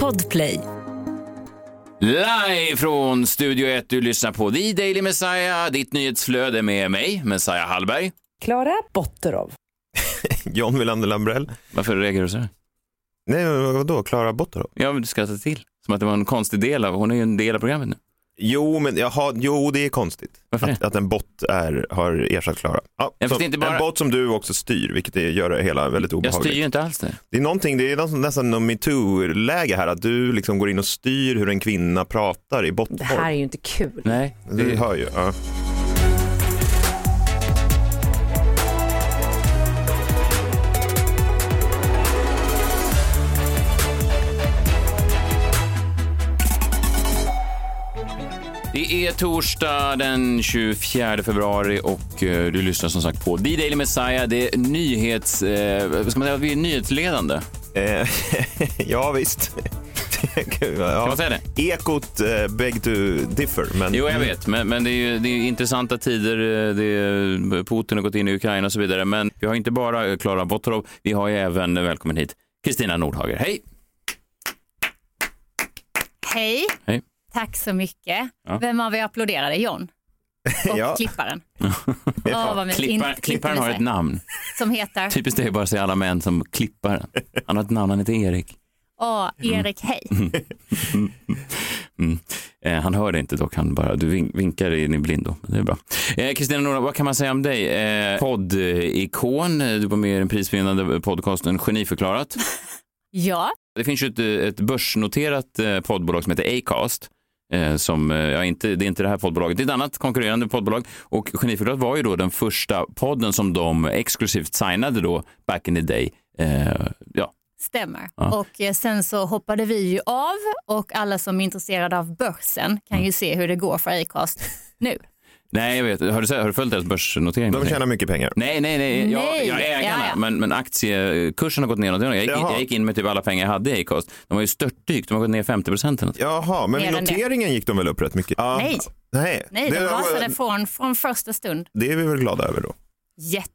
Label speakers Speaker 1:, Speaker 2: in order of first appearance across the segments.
Speaker 1: Podplay.
Speaker 2: Live från Studio 1, du lyssnar på The Daily Messiah, ditt nyhetsflöde med mig, Messiah Hallberg.
Speaker 1: Klara Botterov.
Speaker 3: John Wilander Lambrell.
Speaker 2: Varför reagerar du så här?
Speaker 3: Nej, men vadå? Klara Botterov?
Speaker 2: Ja, men du skrattade till. Som att det var en konstig del av, hon är ju en del av programmet nu.
Speaker 3: Jo, men jaha, jo, det är konstigt.
Speaker 2: Varför
Speaker 3: att, att en bot är, har ersatt Klara. Ja,
Speaker 2: Ja, fast
Speaker 3: som-
Speaker 2: det är inte bara-
Speaker 3: En bot som du också styr, vilket det gör det hela väldigt
Speaker 2: Jag styr
Speaker 3: obehagligt.
Speaker 2: ju inte alls det.
Speaker 3: Det är någonting, det är nästan- nästan någon metoo-läge här, att du liksom går in och styr hur en kvinna pratar i botform.
Speaker 1: Det här är ju inte kul.
Speaker 2: Nej.
Speaker 3: Du hör ju. Ja.
Speaker 2: Det är torsdag den 24 februari och eh, du lyssnar som sagt på The Daily Messiah. Det är nyhets... Eh, vad ska man säga? Vi är nyhetsledande.
Speaker 3: Eh, ja, visst. Gud,
Speaker 2: Kan
Speaker 3: ja.
Speaker 2: man säga det?
Speaker 3: Ekot eh, beg to differ. Men,
Speaker 2: Jo, jag vet, men, men det, är ju, det är ju intressanta tider. eh, Det är, Putin har gått in i Ukraina och så vidare. Men vi har inte bara eh, Klara Bottorov, vi har ju även, eh, välkommen hit, Kristina Nordhager. Hej!
Speaker 4: Hej.
Speaker 2: Hej.
Speaker 4: Tack så mycket.
Speaker 2: Ja.
Speaker 4: Vem av er applåderade? John? Och
Speaker 3: Ja.
Speaker 4: klipparen?
Speaker 3: Ja.
Speaker 4: Åh, vad mysigt.
Speaker 2: Klippa,
Speaker 4: Inte-
Speaker 2: klipparen har ett
Speaker 4: klipparen
Speaker 2: namn.
Speaker 4: Som heter?
Speaker 2: Typiskt det är bara att säga alla män som klipparen. Han har ett namn, han heter Erik.
Speaker 4: Åh, Erik, hej.
Speaker 2: Mm. Eh, han hör det inte dock, han bara, du vin- vinkar in i blindo. Men det är bra. Eh, Kristina Nordhager, vad kan man säga om dig? Eh, Poddikon, eh, du var med i den prisvinnande podcasten Geniförklarat.
Speaker 4: Ja,
Speaker 2: Det finns ju ett, ett börsnoterat eh, poddbolag som heter Acast. eh, Som, eh, ja, inte, det är inte det här poddbolaget, det är ett annat konkurrerande poddbolag. Och Geniförklarat var ju då den första podden som de exklusivt signade då back in the day. Eh, ja.
Speaker 4: stämmer.
Speaker 2: Ja.
Speaker 4: Och eh, sen så hoppade vi ju av och alla som är intresserade av börsen kan ju se hur det går för Acast nu.
Speaker 2: Nej, jag vet. Har du, sett- har du följt deras börsnotering?
Speaker 3: De tjänar mycket pengar.
Speaker 2: Nej, nej, nej. Jag,
Speaker 4: Nej.
Speaker 2: jag är ägarna.
Speaker 4: Ja, ja.
Speaker 2: Men, men aktiekursen har gått ner. något. Jag gick, in-
Speaker 3: Jaha.
Speaker 2: jag gick in med typ alla pengar jag hade i Acast. De var ju störtdykt. De har gått ner 50 procent.
Speaker 3: Jaha, men
Speaker 4: Mer
Speaker 3: vid
Speaker 4: än det.
Speaker 3: noteringen gick de väl upp rätt mycket? Ja.
Speaker 4: Nej.
Speaker 3: Nej,
Speaker 4: Nej,
Speaker 3: det,
Speaker 4: de rasade från, från första stund.
Speaker 3: det är vi väl glada över då.
Speaker 4: Jätte.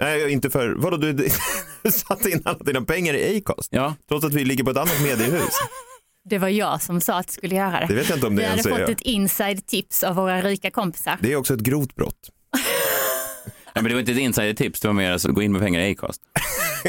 Speaker 3: Nej, inte för... Vadå, du, du satte in alla dina pengar i Acast?
Speaker 2: Ja,
Speaker 3: Trots att vi ligger på ett annat mediehus.
Speaker 4: Det var jag som sa att du skulle göra det.
Speaker 3: Det vet jag inte om det
Speaker 4: Vi hade
Speaker 3: ens
Speaker 4: fått
Speaker 3: är.
Speaker 4: ett inside tips av våra rika kompisar.
Speaker 3: Det är också ett grovt brott.
Speaker 2: Ja, men det var inte ett insidertips. Det var mer alltså, gå in med pengar i Acast.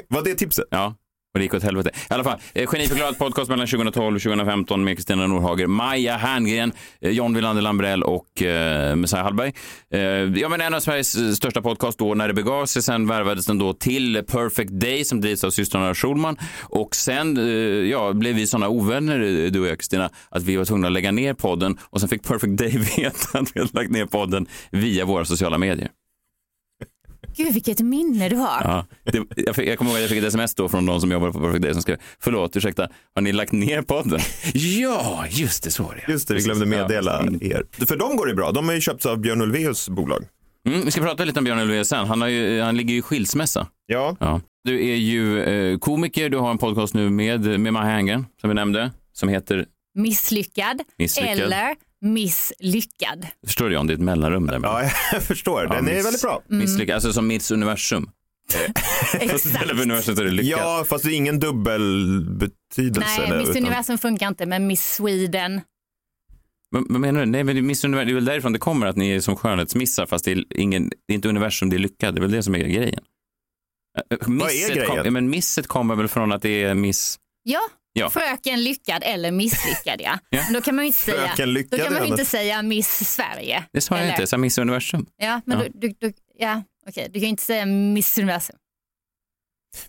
Speaker 3: Var det tipset?
Speaker 2: Ja, och det gick åt helvete. I alla fall, eh, Geniförklarat podcast mellan 2012 och 2015 med Kristina Norhager, Maja Herngren, eh, John Wilander Lambrell och eh, Messiah Hallberg. Eh, ja, men en av Sveriges eh, största podcast då när det begav sig. Sen värvades den då till Perfect Day som drivs av systrarna Schulman. Och sen eh, ja, blev vi sådana ovänner, eh, du och jag Kristina, att vi var tvungna att lägga ner podden. Och sen fick Perfect Day veta att vi hade lagt ner podden via våra sociala medier.
Speaker 4: Gud, vilket minne du har.
Speaker 2: Ja, det, jag, fick, jag kommer ihåg att jag fick ett sms då från någon som jobbade på Perfect Day som skrev förlåt, ursäkta, har ni lagt ner podden? ja, just det, så var det.
Speaker 3: Just det, vi glömde meddela
Speaker 2: Ja. Mm.
Speaker 3: er. För dem går det bra. De har ju köpts av Björn Ulvaeus bolag.
Speaker 2: Mm, vi ska prata lite om Björn Ulvaeus sen. Han, har ju, han ligger ju i skilsmässa.
Speaker 3: Ja,
Speaker 2: Ja. Du är ju eh, komiker, du har en podcast nu med, med Maja Herngren, som vi nämnde, som heter
Speaker 4: Misslyckad,
Speaker 2: Misslyckad.
Speaker 4: eller misslyckad.
Speaker 2: Förstår du John, det är ett mellanrum där.
Speaker 3: ja jag förstår.
Speaker 2: Ja,
Speaker 3: Den är
Speaker 2: miss-
Speaker 3: väldigt bra.
Speaker 2: Misslyckad, alltså som Miss Universum.
Speaker 4: Exakt.
Speaker 2: Istället för universum så är det lyckat.
Speaker 3: Ja, fast det är ingen dubbelbetydelse.
Speaker 4: Nej,
Speaker 3: där,
Speaker 4: Miss
Speaker 3: utan-
Speaker 4: Universum funkar inte, men Miss Sweden.
Speaker 2: Vad, vad menar du? Nej, men det är Miss Universum, det är väl därifrån det kommer att ni är som skönhetsmissar fast det är, ingen, det är inte universum, det är lycka. Det är väl det som är grejen. Äh, äh,
Speaker 3: är
Speaker 2: misset
Speaker 3: grejen?
Speaker 2: Kom, ja, men misset kommer väl från att det är miss...
Speaker 4: Ja,
Speaker 2: Ja.
Speaker 4: fröken lyckad eller misslyckad. Ja.
Speaker 2: Ja.
Speaker 4: Men då kan man ju inte säga,
Speaker 3: Fröken
Speaker 4: då
Speaker 3: Lyckad
Speaker 4: kan man ju
Speaker 3: är
Speaker 4: inte
Speaker 3: annat.
Speaker 4: säga Miss Sverige.
Speaker 2: Det sa jag
Speaker 4: Eller?
Speaker 2: inte, jag sa miss universum.
Speaker 4: Ja, men
Speaker 2: Ja.
Speaker 4: Du, du, du, ja, okej. du kan ju inte säga Miss Universum.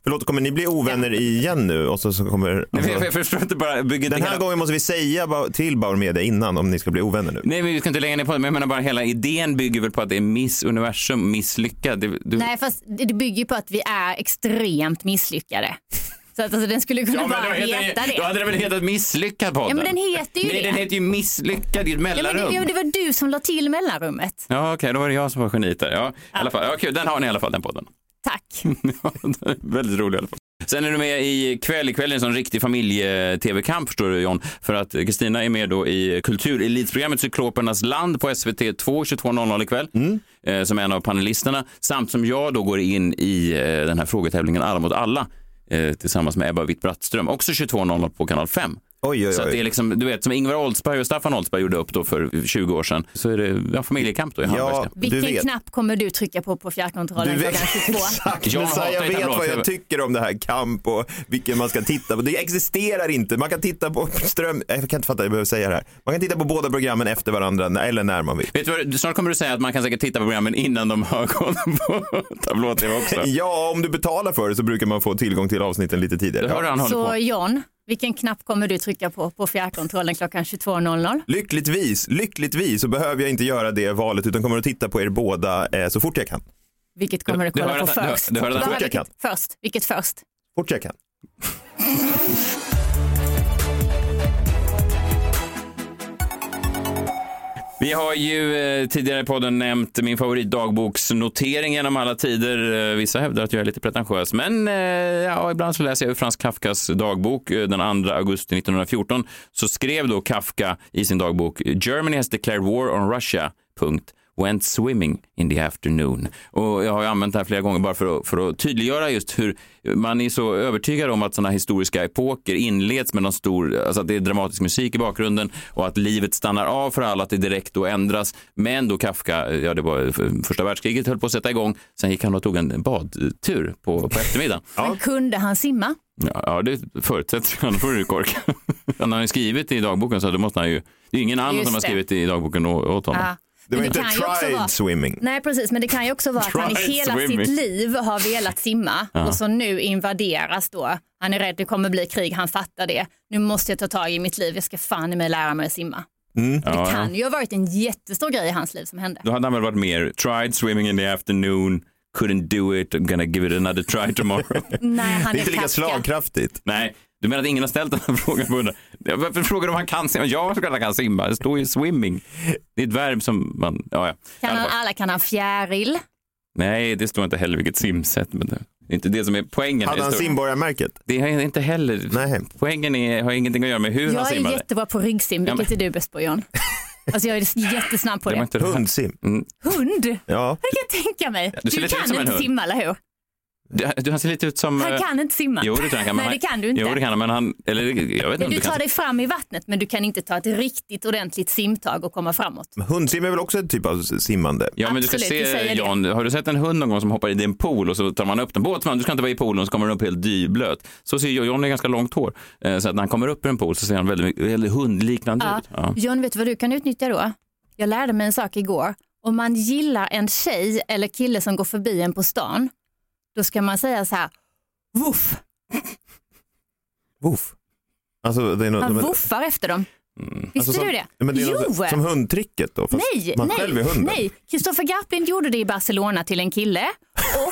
Speaker 3: Förlåt, kommer ni bli ovänner igen nu? Och så, så kommer...
Speaker 2: Nej, men jag, jag förstår inte bara, bygger inte
Speaker 3: Den här
Speaker 2: hela...
Speaker 3: gången måste vi säga ba- till Bauer Media innan om ni ska bli ovänner nu.
Speaker 2: Nej, men vi ska inte lägga ner på det, men jag menar bara hela idén bygger väl på att det är miss universum, misslyckad. Det, du...
Speaker 4: Nej, fast det det bygger ju på att vi är extremt misslyckade. Så att alltså, den skulle kunna
Speaker 2: Ja, men då,
Speaker 4: bara
Speaker 2: heter,
Speaker 4: heta
Speaker 2: det-
Speaker 4: det.
Speaker 2: då hade det väl hetat misslyckad podden?
Speaker 4: Ja, men den heter ju
Speaker 2: Nej,
Speaker 4: det.
Speaker 2: den heter ju misslyckad, det är ett
Speaker 4: Ja, men
Speaker 2: mellanrum.
Speaker 4: det, ja, men det var du som la till mellanrummet.
Speaker 2: Ja, okej, då var det jag som var geniet där. Ja, i alla fall. Ja, kul, den har ni i alla fall, den podden.
Speaker 4: Tack.
Speaker 2: Ja, det är väldigt rolig i alla fall. Sen är du med i kväll. Ikväll är en sån riktig familje-tv-kamp förstår du John. För att Kristina är med då i kulturelitprogrammet Cyklopernas land på SVT 2 22.00 ikväll. Eh, som en av panelisterna. Samt som jag då går in i eh, den här frågetävlingen Alla mot alla. eh, tillsammans med Ebba Witt-Brattström, också 22.00 på kanal 5.
Speaker 3: Oj, oj,
Speaker 2: Så att det är
Speaker 3: oj.
Speaker 2: liksom, du vet, som Ingvar Oldsberg och Staffan Oldsberg gjorde upp då för 20 år sedan, så är det ja, familjekamp då i
Speaker 3: Ja,
Speaker 2: Hallbergska.
Speaker 4: Vilken
Speaker 3: du vet.
Speaker 4: knapp kommer du trycka på på
Speaker 3: Du
Speaker 4: fjärrkontrollen
Speaker 3: vet-
Speaker 4: klockan 22?
Speaker 3: Exakt,
Speaker 2: Jag
Speaker 3: men så här, jag
Speaker 2: hatar
Speaker 3: vet vad
Speaker 2: kabel-tv.
Speaker 3: jag tycker om det här kamp och vilken man ska titta på. Det existerar inte. Man kan titta på ström... Jag kan inte fatta, jag behöver säga det här. Man kan titta på båda programmen efter varandra eller när man vill.
Speaker 2: Vet du vad, snart kommer du säga att man kan säkert titta på programmen innan de har koll på tablå-tv också.
Speaker 3: Ja, om du betalar för det så brukar man få tillgång till avsnitten lite
Speaker 2: Det
Speaker 3: tidigare.
Speaker 2: hör du
Speaker 3: Ja.
Speaker 2: han håller
Speaker 4: Så
Speaker 2: på.
Speaker 4: John, vilken knapp kommer du trycka på på fjärrkontrollen klockan 22.00?
Speaker 3: Lyckligtvis, lyckligtvis så behöver jag inte göra det valet utan kommer att titta på er båda eh, så fort jag kan.
Speaker 4: Vilket kommer du
Speaker 2: Du- du
Speaker 4: kolla
Speaker 2: hör
Speaker 4: på
Speaker 2: att- du hör-
Speaker 4: först?
Speaker 2: du hör att-
Speaker 4: Kolla
Speaker 3: Fort jag
Speaker 4: vilket Först, vilket först?
Speaker 3: Fort jag kan.
Speaker 2: Vi har ju eh, tidigare i podden nämnt min favoritdagboksnotering genom alla tider. Eh, Vissa hävdar att jag är lite pretentiös, men eh, ja, ibland så läser jag ur Frans Kafkas dagbok. Eh, Den 2 augusti 1914 så skrev då Kafka i sin dagbok Germany has declared war on Russia. Punkt. Went swimming in the afternoon. Och jag har ju använt det här flera gånger bara för att, för att tydliggöra just hur man är så övertygad om att sådana historiska epoker inleds med någon stor, alltså att det är dramatisk musik i bakgrunden och att livet stannar av för alla, att det direkt då ändras. Men då Kafka, ja det var första världskriget höll på att sätta igång, sen gick han och tog en badtur på, på eftermiddagen.
Speaker 4: Men kunde han simma?
Speaker 2: Ja, ja det förutsätts ju, annars får du korka. Han har ju skrivit i dagboken så då måste han ju, det är ingen annan
Speaker 4: Just
Speaker 2: som har
Speaker 4: det.
Speaker 2: skrivit i dagboken å- åt honom.
Speaker 4: Ja.
Speaker 3: Det var
Speaker 4: Men
Speaker 3: inte
Speaker 4: kan ju också
Speaker 3: tried
Speaker 4: vara-
Speaker 3: swimming.
Speaker 4: Nej precis, men det kan ju också vara att han i
Speaker 2: Try
Speaker 4: hela
Speaker 2: swimming.
Speaker 4: sitt liv har velat simma och så nu invaderas då. Han är rädd, det kommer bli krig, han fattar det. Nu måste jag ta tag i mitt liv, jag ska fan i mig lära mig att simma.
Speaker 2: Ja,
Speaker 4: Det
Speaker 2: ja.
Speaker 4: kan ju ha varit en jättestor grej i hans liv som hände.
Speaker 2: Då hade han väl varit mer tried swimming in the afternoon, couldn't do it, I'm gonna give it another try tomorrow.
Speaker 4: Nej, han
Speaker 3: Det
Speaker 4: är
Speaker 3: är inte lika
Speaker 4: Kafka.
Speaker 3: slagkraftigt.
Speaker 2: Nej, du menar att ingen har ställt den här frågan? på hundra? Ja, Varför frågar du om han kan simma? Jag såklart han kan simma. Det står ju swimming. Det är ett verb som man... Ja, ja. I
Speaker 4: Kan
Speaker 2: alla
Speaker 4: han,
Speaker 2: fall.
Speaker 4: alla kan han fjäril.
Speaker 2: Nej, det står inte heller vilket simsätt. Men det det är inte det som är poängen.
Speaker 3: Hade
Speaker 2: det,
Speaker 3: han
Speaker 2: står,
Speaker 3: simborgarmärket?
Speaker 2: det är inte heller...
Speaker 3: Nej.
Speaker 2: Poängen är, har ingenting att göra med hur han
Speaker 4: Jag är
Speaker 2: simmade.
Speaker 4: jättebra på ryggsim,
Speaker 2: Ja,
Speaker 4: vilket är du bäst på John. Alltså jag är jättesnabb på
Speaker 2: Det Mm. var inte
Speaker 4: det.
Speaker 2: det här.
Speaker 3: Hundsim.
Speaker 4: Hund,
Speaker 3: Ja.
Speaker 4: jag kan tänka mig.
Speaker 2: du
Speaker 4: Du,
Speaker 2: ser lite ut
Speaker 4: kan
Speaker 2: som en
Speaker 4: inte
Speaker 2: hund.
Speaker 4: simma, eller hur?
Speaker 2: Du- du, han ser lite ut som... eh,
Speaker 4: Han kan inte simma.
Speaker 2: Jo, det tror jag han kan. men
Speaker 4: Nej,
Speaker 2: han-
Speaker 4: det kan du inte.
Speaker 2: Jo, det kan han. Men han... Eller jag vet inte om
Speaker 4: Du
Speaker 2: du
Speaker 4: tar
Speaker 2: kan...
Speaker 4: dig fram i vattnet men du kan inte ta ett riktigt ordentligt simtag och komma framåt.
Speaker 3: Men Hundsim är väl också en typ av simmande?
Speaker 2: Ja, men du ska
Speaker 4: Absolut, vi
Speaker 2: se,
Speaker 4: säger det.
Speaker 2: Jan, har du sett en hund någon gång som hoppar i din pool och så tar man upp den? Båtsman, du ska inte vara i poolen, och så kommer den upp helt dyblöt. Så ser John, John har ganska långt hår, Eh, så att när han kommer upp i en pool så ser han väldigt, väldigt hundliknande
Speaker 4: Ja.
Speaker 2: ut. Ja.
Speaker 4: John, vet du vad du kan utnyttja då? Jag lärde mig en sak igår. Om man gillar en tjej eller kille som går förbi en på stan, då ska man säga så här, woof.
Speaker 3: Woof. Alltså, det är något,
Speaker 4: Man
Speaker 3: men,
Speaker 4: woofar efter dem. Visste
Speaker 3: alltså, som,
Speaker 4: du det?
Speaker 3: Men det är något, som hundtricket då? Fast
Speaker 4: Nej,
Speaker 3: man
Speaker 4: nej,
Speaker 3: själv är hunden.
Speaker 4: nej. Kristoffer Garplind gjorde det i Barcelona till en kille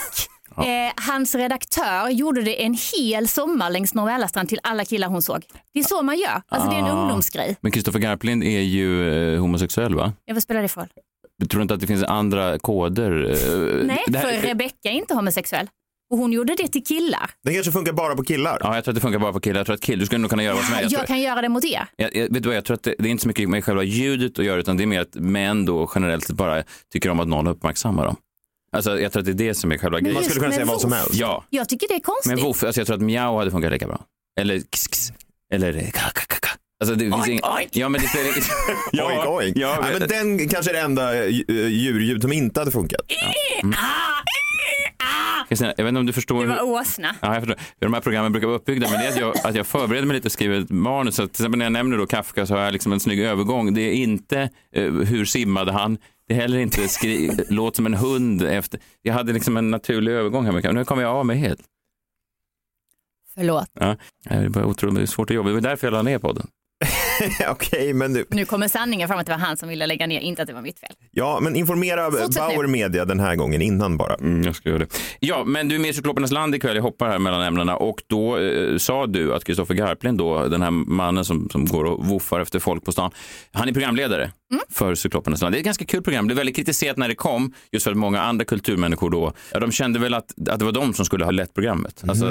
Speaker 4: och eh, hans redaktör gjorde det en hel sommar längs Norra Ällastrand till alla killar hon såg. Det är så man gör. Alltså det är en
Speaker 2: Ah.
Speaker 4: ungdomsgrej.
Speaker 2: Men Kristoffer Garplind är ju eh, homosexuell, va?
Speaker 4: Jag vill spela det för roll.
Speaker 2: Eh, Tror du inte att det finns andra koder? eh,
Speaker 4: Nej,
Speaker 2: det här-
Speaker 4: för Rebecca är inte homosexuell. Och hon gjorde det till killar.
Speaker 3: Den kanske funkar bara på killar.
Speaker 2: Ja, jag tror att det funkar bara på killar. Jag tror att killar, du skulle nog kunna göra vad som helst.
Speaker 4: Jag kan göra det mot er.
Speaker 2: Jag, jag, vet du vad, jag tror att det, det är inte så mycket med själva ljudet att göra utan det är mer att män då generellt sett bara tycker om att någon uppmärksammar dem. Alltså jag tror att det är det som är själva
Speaker 4: Men
Speaker 2: grejen.
Speaker 3: Man skulle
Speaker 4: just
Speaker 3: kunna säga
Speaker 4: med
Speaker 3: vad som
Speaker 4: woof.
Speaker 3: helst.
Speaker 2: Ja,
Speaker 4: Jag tycker det är konstigt.
Speaker 2: men woof, alltså jag tror att miau hade funkat lika bra. Eller kss, kss. Eller ka, ka, ka, ka. Alltså det finns
Speaker 4: Oink,
Speaker 2: ing-
Speaker 4: oink.
Speaker 2: Ja, men det spelar inget...
Speaker 3: Oink, oink.
Speaker 2: Ja,
Speaker 3: Nej, men
Speaker 2: men...
Speaker 3: den kanske är det enda eh, djurljud som inte hade funkat.
Speaker 2: Kristina, jag vet inte om du förstår
Speaker 4: Ah, eh, Det
Speaker 2: hur...
Speaker 4: var åsna.
Speaker 2: Ja, jag förstår. Hur de här programmen brukar vara uppbyggda, men det är att jag, att jag förbereder mig lite och skriver ett manus. Så att, till exempel när jag nämner då Kafka så har jag liksom en snygg övergång. Det är inte eh, hur simmade han? Det är heller inte skri- låt som en hund efter. Jag hade liksom en naturlig övergång här, men nu kommer jag av mig helt.
Speaker 4: Förlåt.
Speaker 2: Ja. Det är bara otroligt svårt att jobba. Det var därför jag la ner podden.
Speaker 3: Okej, men du.
Speaker 4: Nu kommer sanningen fram att det var han som ville lägga ner, inte att det var mitt fel.
Speaker 3: Ja, men informera
Speaker 4: Fortsätt nu.
Speaker 3: Bauer Media den här gången innan bara.
Speaker 2: Mm, jag ska göra det. Ja, men du är med i Cyklopernas land ikväll. Jag hoppar här mellan ämnena och då eh, sa du att Kristoffer Garplind, då, den här mannen som, som går och woofar efter folk på stan, han är programledare för Cyklopernas land. Det är ett ganska kul program. Det blev väldigt kritiserat när det kom, just för att många andra kulturmänniskor då, ja, de kände väl att, att det var de som skulle ha lett programmet. Alltså,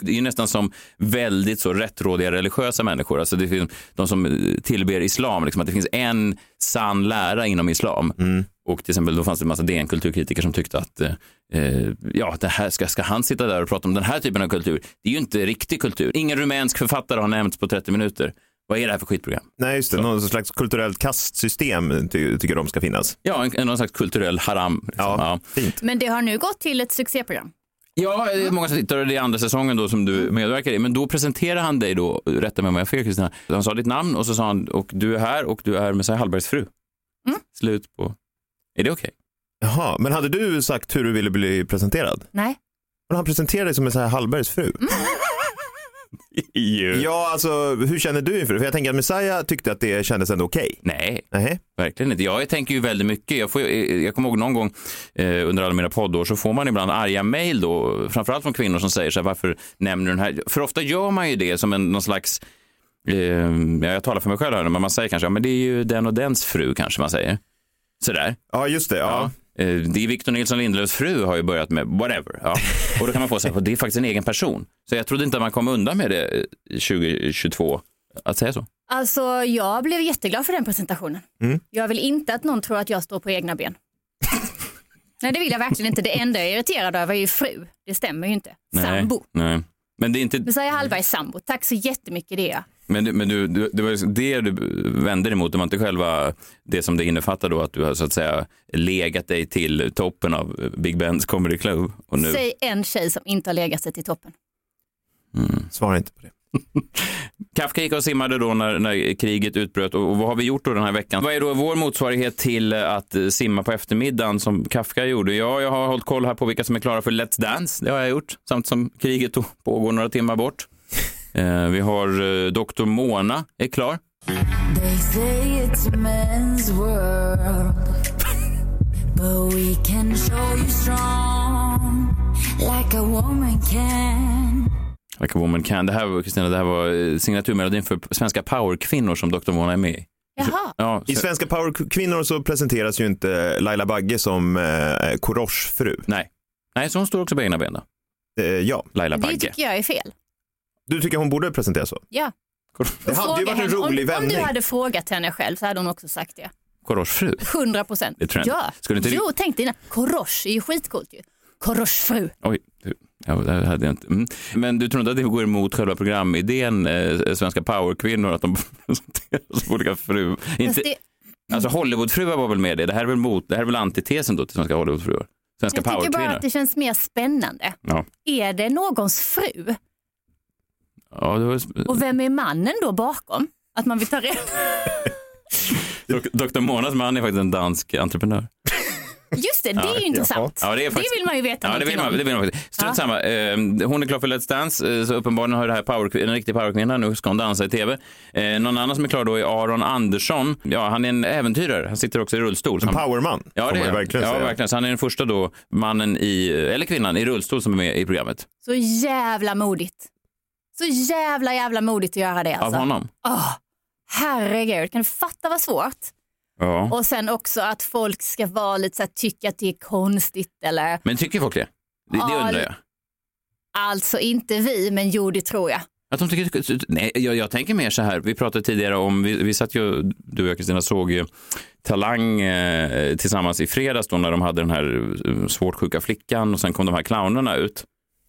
Speaker 2: Det är ju nästan som väldigt så rättrådiga religiösa människor. Alltså, det finns de som eh, tillber islam, liksom, att det finns en sann lära inom islam. Och till exempel då fanns det en massa DN-kulturkritiker som tyckte att eh, eh, ja, det här ska, ska han sitta där och prata om den här typen av kultur? Det är ju inte riktig kultur. Ingen rumänsk författare har nämnts på 30 minuter. Vad är det här för skitprogram?
Speaker 3: Nej, just det. Någon slags kulturellt kastsystem ty tycker de ska finnas.
Speaker 2: Ja, en, en någon slags kulturell haram. Liksom.
Speaker 3: Ja,
Speaker 2: Ja.
Speaker 3: fint.
Speaker 4: Men det har nu gått till ett succéprogram.
Speaker 2: Ja, det är många som tittar och det är andra säsongen då som
Speaker 3: Mm.
Speaker 2: du medverkar i. Men då presenterar han dig då, rätta mig om jag har fel Kristina. Han sa ditt namn och så sa han och du är här och du är Messiah Hallbergs fru.
Speaker 3: Mm.
Speaker 2: Slut på. Är det okej?
Speaker 3: Jaha, men hade du sagt hur du ville bli presenterad?
Speaker 4: Nej.
Speaker 3: Men han presenterade dig som en så här Hallbergs fru. Mm. Ja, alltså hur känner du inför det? För jag tänker att Messiah tyckte att det kändes ändå okej.
Speaker 2: Nej,
Speaker 3: Okay.
Speaker 2: verkligen inte. Jag tänker ju väldigt mycket. Jag, får, ju- jag kommer ihåg någon gång eh, under alla mina poddår så får man ibland arga mejl då, framförallt från kvinnor som säger så här, varför nämner du den här? För ofta gör man ju det som en, någon slags, eh, ja, jag talar för mig själv här nu, men man säger kanske, ja men det är ju den och dens fru kanske man säger. Sådär.
Speaker 3: Ja, just det. Ja.
Speaker 2: Eh, Det är Victor Nilsson Lindelöfs fru har ju börjat med whatever. Ja. Och då kan man få så här, det är faktiskt en egen person. Så jag trodde inte att man kom undan med det eh, 2022, att säga så.
Speaker 4: Alltså jag blev jätteglad för den presentationen.
Speaker 2: Mm.
Speaker 4: Jag vill inte att någon tror att jag står på egna ben. Nej det vill jag verkligen inte. Det enda jag är irriterad över är ju fru. Det stämmer ju inte. Sambo.
Speaker 2: Nej. Nej. Men, det är inte,
Speaker 4: Messiah Hallberg är sambo. Tack så jättemycket det är jag.
Speaker 2: men, du, men du, du, det var liksom det du vände dig mot, det var inte själva det som det innefattar då att du har så att säga legat dig till toppen av eh, Big Bens Comedy Club. Och nu,
Speaker 4: Säg en tjej som inte har legat sig till toppen.
Speaker 3: Svara inte på det.
Speaker 2: Kafka gick Mm. och simmade då när, när kriget utbröt och, och vad har vi gjort då den här veckan? Vad är då vår motsvarighet till eh, att eh, simma på eftermiddagen som Kafka gjorde? Ja, jag har hållit koll här på vilka som är klara för Let's Dance. Det har jag gjort, samt som kriget då pågår några timmar bort. Eh, vi har eh, Dr. Mona är klar.
Speaker 5: They say it's a man's world, but we can show you strong like a woman can.
Speaker 2: Like a woman can. Det här var, Kristina, det här var eh, signaturmelodin för svenska powerkvinnor som Dr. Mona är med i.
Speaker 4: Jaha.
Speaker 2: Ja,
Speaker 3: I
Speaker 2: så-
Speaker 3: Svenska powerkvinnor så presenteras ju inte Laila Bagge som eh, Korosh fru.
Speaker 2: nej. nej, så hon står också på egna ben då.
Speaker 3: Eh, ja,
Speaker 2: Laila
Speaker 4: Det
Speaker 2: Bagge.
Speaker 4: tycker jag är fel.
Speaker 3: du tycker hon borde presenteras så?
Speaker 4: Ja.
Speaker 3: Det hade ju
Speaker 4: Fråga
Speaker 3: varit en
Speaker 4: henne.
Speaker 3: rolig
Speaker 4: om, om
Speaker 3: vändning.
Speaker 4: du hade frågat henne själv så hade hon också sagt det.
Speaker 2: Korosh fru.
Speaker 4: 100 procent.
Speaker 2: Det tror jag
Speaker 4: ja.
Speaker 2: inte. Skulle inte-
Speaker 4: Jo, tänk dig innan. Korosh är ju skitcoolt ju. Koroshfru.
Speaker 2: Oj, du- ja, det hade jag inte. Mm. Men du tror inte att det går emot själva programidén, eh, svenska powerkvinnor, att de presenteras som olika fru? Inte,
Speaker 4: Fast det-
Speaker 2: Alltså Hollywoodfruar var väl med det? Det här är väl, mot, det här är väl antitesen då till svenska Hollywoodfruar? Svenska
Speaker 4: Jag tycker bara
Speaker 2: powerkvinnor?
Speaker 4: att det känns mer spännande.
Speaker 2: Ja.
Speaker 4: Är det någons fru?
Speaker 2: Ja, det var...
Speaker 4: Och vem är mannen då bakom? Att man vill ta reda
Speaker 2: Dok- Dr. Monas man är faktiskt en dansk entreprenör.
Speaker 4: Just det, det är ju intressant.
Speaker 2: Ja, det är faktiskt-
Speaker 4: Det vill man ju veta
Speaker 2: Ja, det vill man,
Speaker 4: någonting
Speaker 2: det
Speaker 4: om.
Speaker 2: vill man faktiskt. Strunt samma. Eh, Hon är klar för Let's Dance, eh, så uppenbarligen har det här power, en riktig powerkvinna. Nu ska hon dansa i tv. Eh, Någon annan som är klar då är Aron Andersson. Ja, han är en äventyrare. Han sitter också i rullstol.
Speaker 3: En
Speaker 2: Han-
Speaker 3: powerman,
Speaker 2: Ja, det
Speaker 3: får man
Speaker 2: är han.
Speaker 3: ju verkligen
Speaker 2: ja,
Speaker 3: säga.
Speaker 2: verkligen. Så han är den första då mannen i, eh, eller kvinnan i rullstol som är med i programmet.
Speaker 4: Så jävla modigt. Så jävla jävla modigt att göra det alltså.
Speaker 2: Av honom.
Speaker 4: Åh, herregud, kan du fatta vad svårt?
Speaker 2: Ja.
Speaker 4: Och sen också att folk ska vara lite så här, tycka att det är konstigt eller
Speaker 2: Men tycker folk det? Det, det
Speaker 4: Ja,
Speaker 2: undrar jag.
Speaker 4: alltså inte vi men jo det tror jag.
Speaker 2: Att de tycker, nej, jag, jag tänker mer så här, vi pratade tidigare om, vi, vi satt ju, du och jag Kristina såg ju Talang eh, tillsammans i fredags då när de hade den här eh, svårt sjuka flickan och sen kom de här clownerna ut.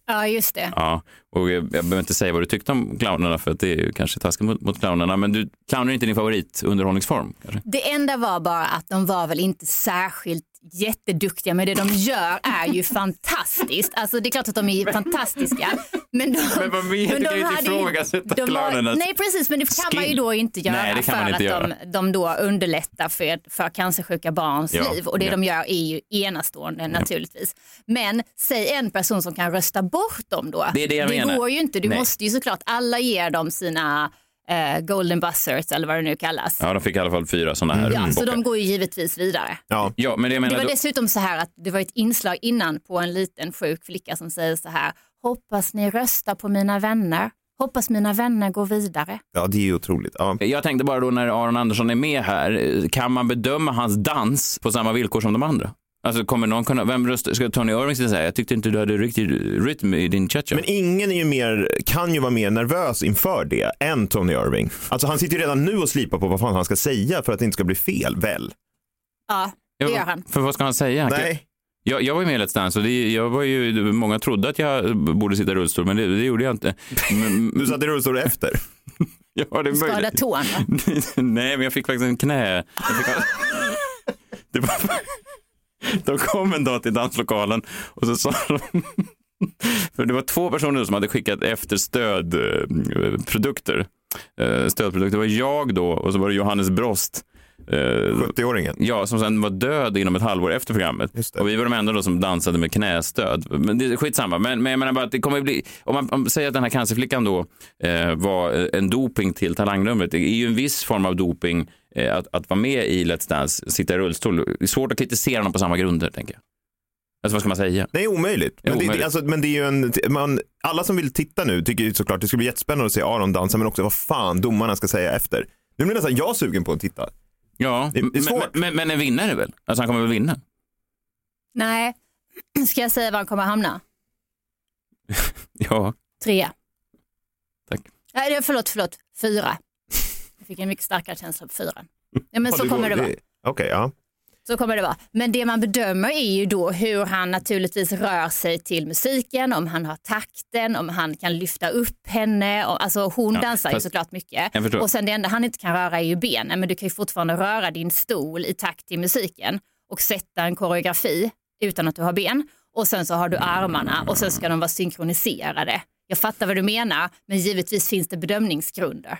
Speaker 4: Ja just det.
Speaker 2: Ja, och jag, jag behöver inte säga vad du tyckte om clownerna för att det är ju kanske taskigt mot, mot clownerna, men du, clowner är inte din favoritunderhållningsform? Kanske?
Speaker 4: Det enda var bara att de var väl inte särskilt jätteduktiga men det de gör är ju fantastiskt. Alltså det är klart att de är fantastiska. Men, de,
Speaker 2: Men vad menar du? Du kan ju inte
Speaker 4: hade ju-
Speaker 2: ifrågasätta
Speaker 4: de var-
Speaker 2: clownernas
Speaker 4: Nej precis men det kan man ju
Speaker 2: skill.
Speaker 4: då inte göra
Speaker 2: Nej, det kan
Speaker 4: för
Speaker 2: man inte
Speaker 4: att De, de då underlättar för, för cancersjuka barns
Speaker 2: Ja,
Speaker 4: liv och det
Speaker 2: ja.
Speaker 4: de gör är ju enastående naturligtvis. Men säg en person som kan rösta bort dem då.
Speaker 2: Det är det jag menar.
Speaker 4: går ju inte, du
Speaker 2: Nej.
Speaker 4: måste ju såklart, alla ger dem sina eh, golden buzzers eller vad det nu kallas.
Speaker 2: Ja, de fick i alla fall fyra sådana här.
Speaker 4: Mm. Ja, så
Speaker 2: bockar.
Speaker 4: de går ju givetvis vidare.
Speaker 3: Ja.
Speaker 2: ja, Mm. men det jag menar,
Speaker 4: Det var
Speaker 2: då-
Speaker 4: dessutom så här att det var ett inslag innan på en liten sjuk flicka som säger så här, hoppas ni röstar på mina vänner, hoppas mina vänner går vidare.
Speaker 3: ja, det är ju otroligt. Ja.
Speaker 2: Jag tänkte bara då när Aron Andersson är med här, eh, kan man bedöma hans dans på samma villkor som de andra? Alltså kommer någon kunna, vem röstar, ska Tony Irving sitta och säga, jag tyckte inte du hade riktig rytm i din cha-cha?
Speaker 3: Men ingen är ju mer, kan ju vara mer nervös inför det än Tony Irving. Alltså han sitter ju redan nu och slipar på vad fan han ska säga för att det inte ska bli fel, väl?
Speaker 4: Ja,
Speaker 2: Ja,
Speaker 4: Det gör han.
Speaker 2: För vad ska han säga? Han kan-
Speaker 3: Nej.
Speaker 2: Jag, jag var ju med i Let's Dance och det, jag var ju, många trodde att jag borde sitta i rullstol, men det, det gjorde jag inte. Men,
Speaker 3: Du satt i rullstol efter.
Speaker 2: ja, det är
Speaker 4: Skada
Speaker 2: möjligt.
Speaker 4: tån. va?
Speaker 2: Nej, men jag fick faktiskt en knä. Jag fick... det var... De kom en dag till danslokalen och så sa de För det var två personer som hade skickat efter stödprodukter. Eh, Stödprodukter. Det var jag då och så var det Johannes Brost. eh,
Speaker 3: 70-åringen.
Speaker 2: Ja, som sen var död inom ett halvår efter programmet.
Speaker 3: Just det.
Speaker 2: Och vi var de enda då som dansade med knästöd. Men det är skitsamma. Men, men jag menar bara att det kommer bli... Om man, om man säger att den här cancerflickan då eh, var eh, en doping till talangnumret. Det är ju en viss form av doping eh, att, att vara med i Let's Dance, sitta i rullstol. Det är svårt att kritisera honom på samma grunder, tänker jag. Alltså vad ska man säga?
Speaker 3: Det är omöjligt.
Speaker 2: Det är
Speaker 3: Men det,
Speaker 2: omöjligt.
Speaker 3: det, alltså, men det är ju en, man, alla som vill titta nu tycker ju såklart det skulle bli jättespännande att se Aron dansa, men också vad fan domarna ska säga efter. Nu blir nästan jag sugen på att titta.
Speaker 2: Ja,
Speaker 3: Det är
Speaker 2: men-
Speaker 3: svårt.
Speaker 2: Men, men, men en vinnare väl? Alltså han kommer väl vinna?
Speaker 4: Nej, ska jag säga var han kommer hamna?
Speaker 2: Ja.
Speaker 4: Trea.
Speaker 2: Tack.
Speaker 4: Nej, det- förlåt, förlåt. Fyra. Jag fick en mycket starkare känsla på fyran. Ja, men
Speaker 3: Ja,
Speaker 4: så kommer
Speaker 3: går-
Speaker 4: det vara.
Speaker 3: Okej, ja.
Speaker 4: Så kommer det vara. Men det man bedömer är ju då hur han naturligtvis rör sig till musiken, om han har takten, om han kan lyfta upp henne. Och- Alltså hon
Speaker 2: Ja,
Speaker 4: dansar
Speaker 2: fast-
Speaker 4: ju såklart mycket.
Speaker 2: Jag förstår.
Speaker 4: Och sen det enda han inte kan röra är ju benen, men du kan ju fortfarande röra din stol i takt till musiken och sätta en koreografi utan att du har ben. Och sen så har du armarna och sen ska de vara synkroniserade. Jag fattar vad du menar, men givetvis finns det bedömningsgrunder.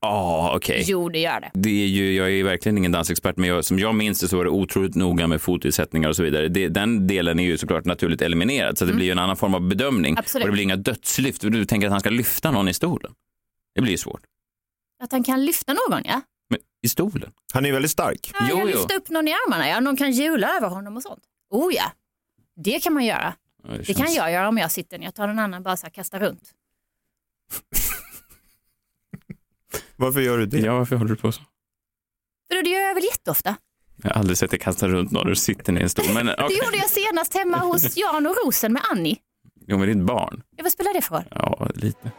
Speaker 2: Ja, okej.
Speaker 4: Jo, det gör det.
Speaker 2: Det är ju, jag är ju verkligen ingen dansexpert, men jag, som jag minns det så var det otroligt noga med fotutsättningar och så vidare. Det, den delen är ju såklart naturligt eliminerad, så det blir ju en annan form av bedömning.
Speaker 4: Mm. Absolut.
Speaker 2: Och det blir inga dödslyft. Du tänker att han ska lyfta någon i stolen? Det blir ju svårt.
Speaker 4: Att han kan lyfta någon, ja.
Speaker 2: Men i stolen?
Speaker 3: Han är ju väldigt stark.
Speaker 4: Ja,
Speaker 2: Jo,
Speaker 4: jag
Speaker 2: jo.
Speaker 4: lyfta upp någon i armarna, ja. någon kan hjula över honom och sånt. Oh ja, det kan man göra.
Speaker 2: Ja,
Speaker 4: Det
Speaker 2: känns-
Speaker 4: kan jag göra om jag sitter ner. Jag tar en annan bara så här, kastar runt.
Speaker 3: Varför gör du det?
Speaker 2: Ja, varför håller du på så?
Speaker 4: För det gör jag väl jätteofta.
Speaker 2: Jag har aldrig sett dig kasta runt någon och sitter ner i en stol. Men,
Speaker 4: Det
Speaker 2: okay.
Speaker 4: gjorde jag senast hemma hos Jan och Rosen med Annie.
Speaker 2: Jo, men ditt barn.
Speaker 4: Ja, Vad spelar det för roll?
Speaker 2: Ja, lite.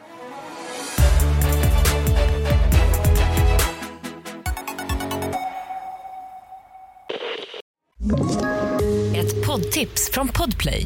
Speaker 6: Ett poddtips från Podplay.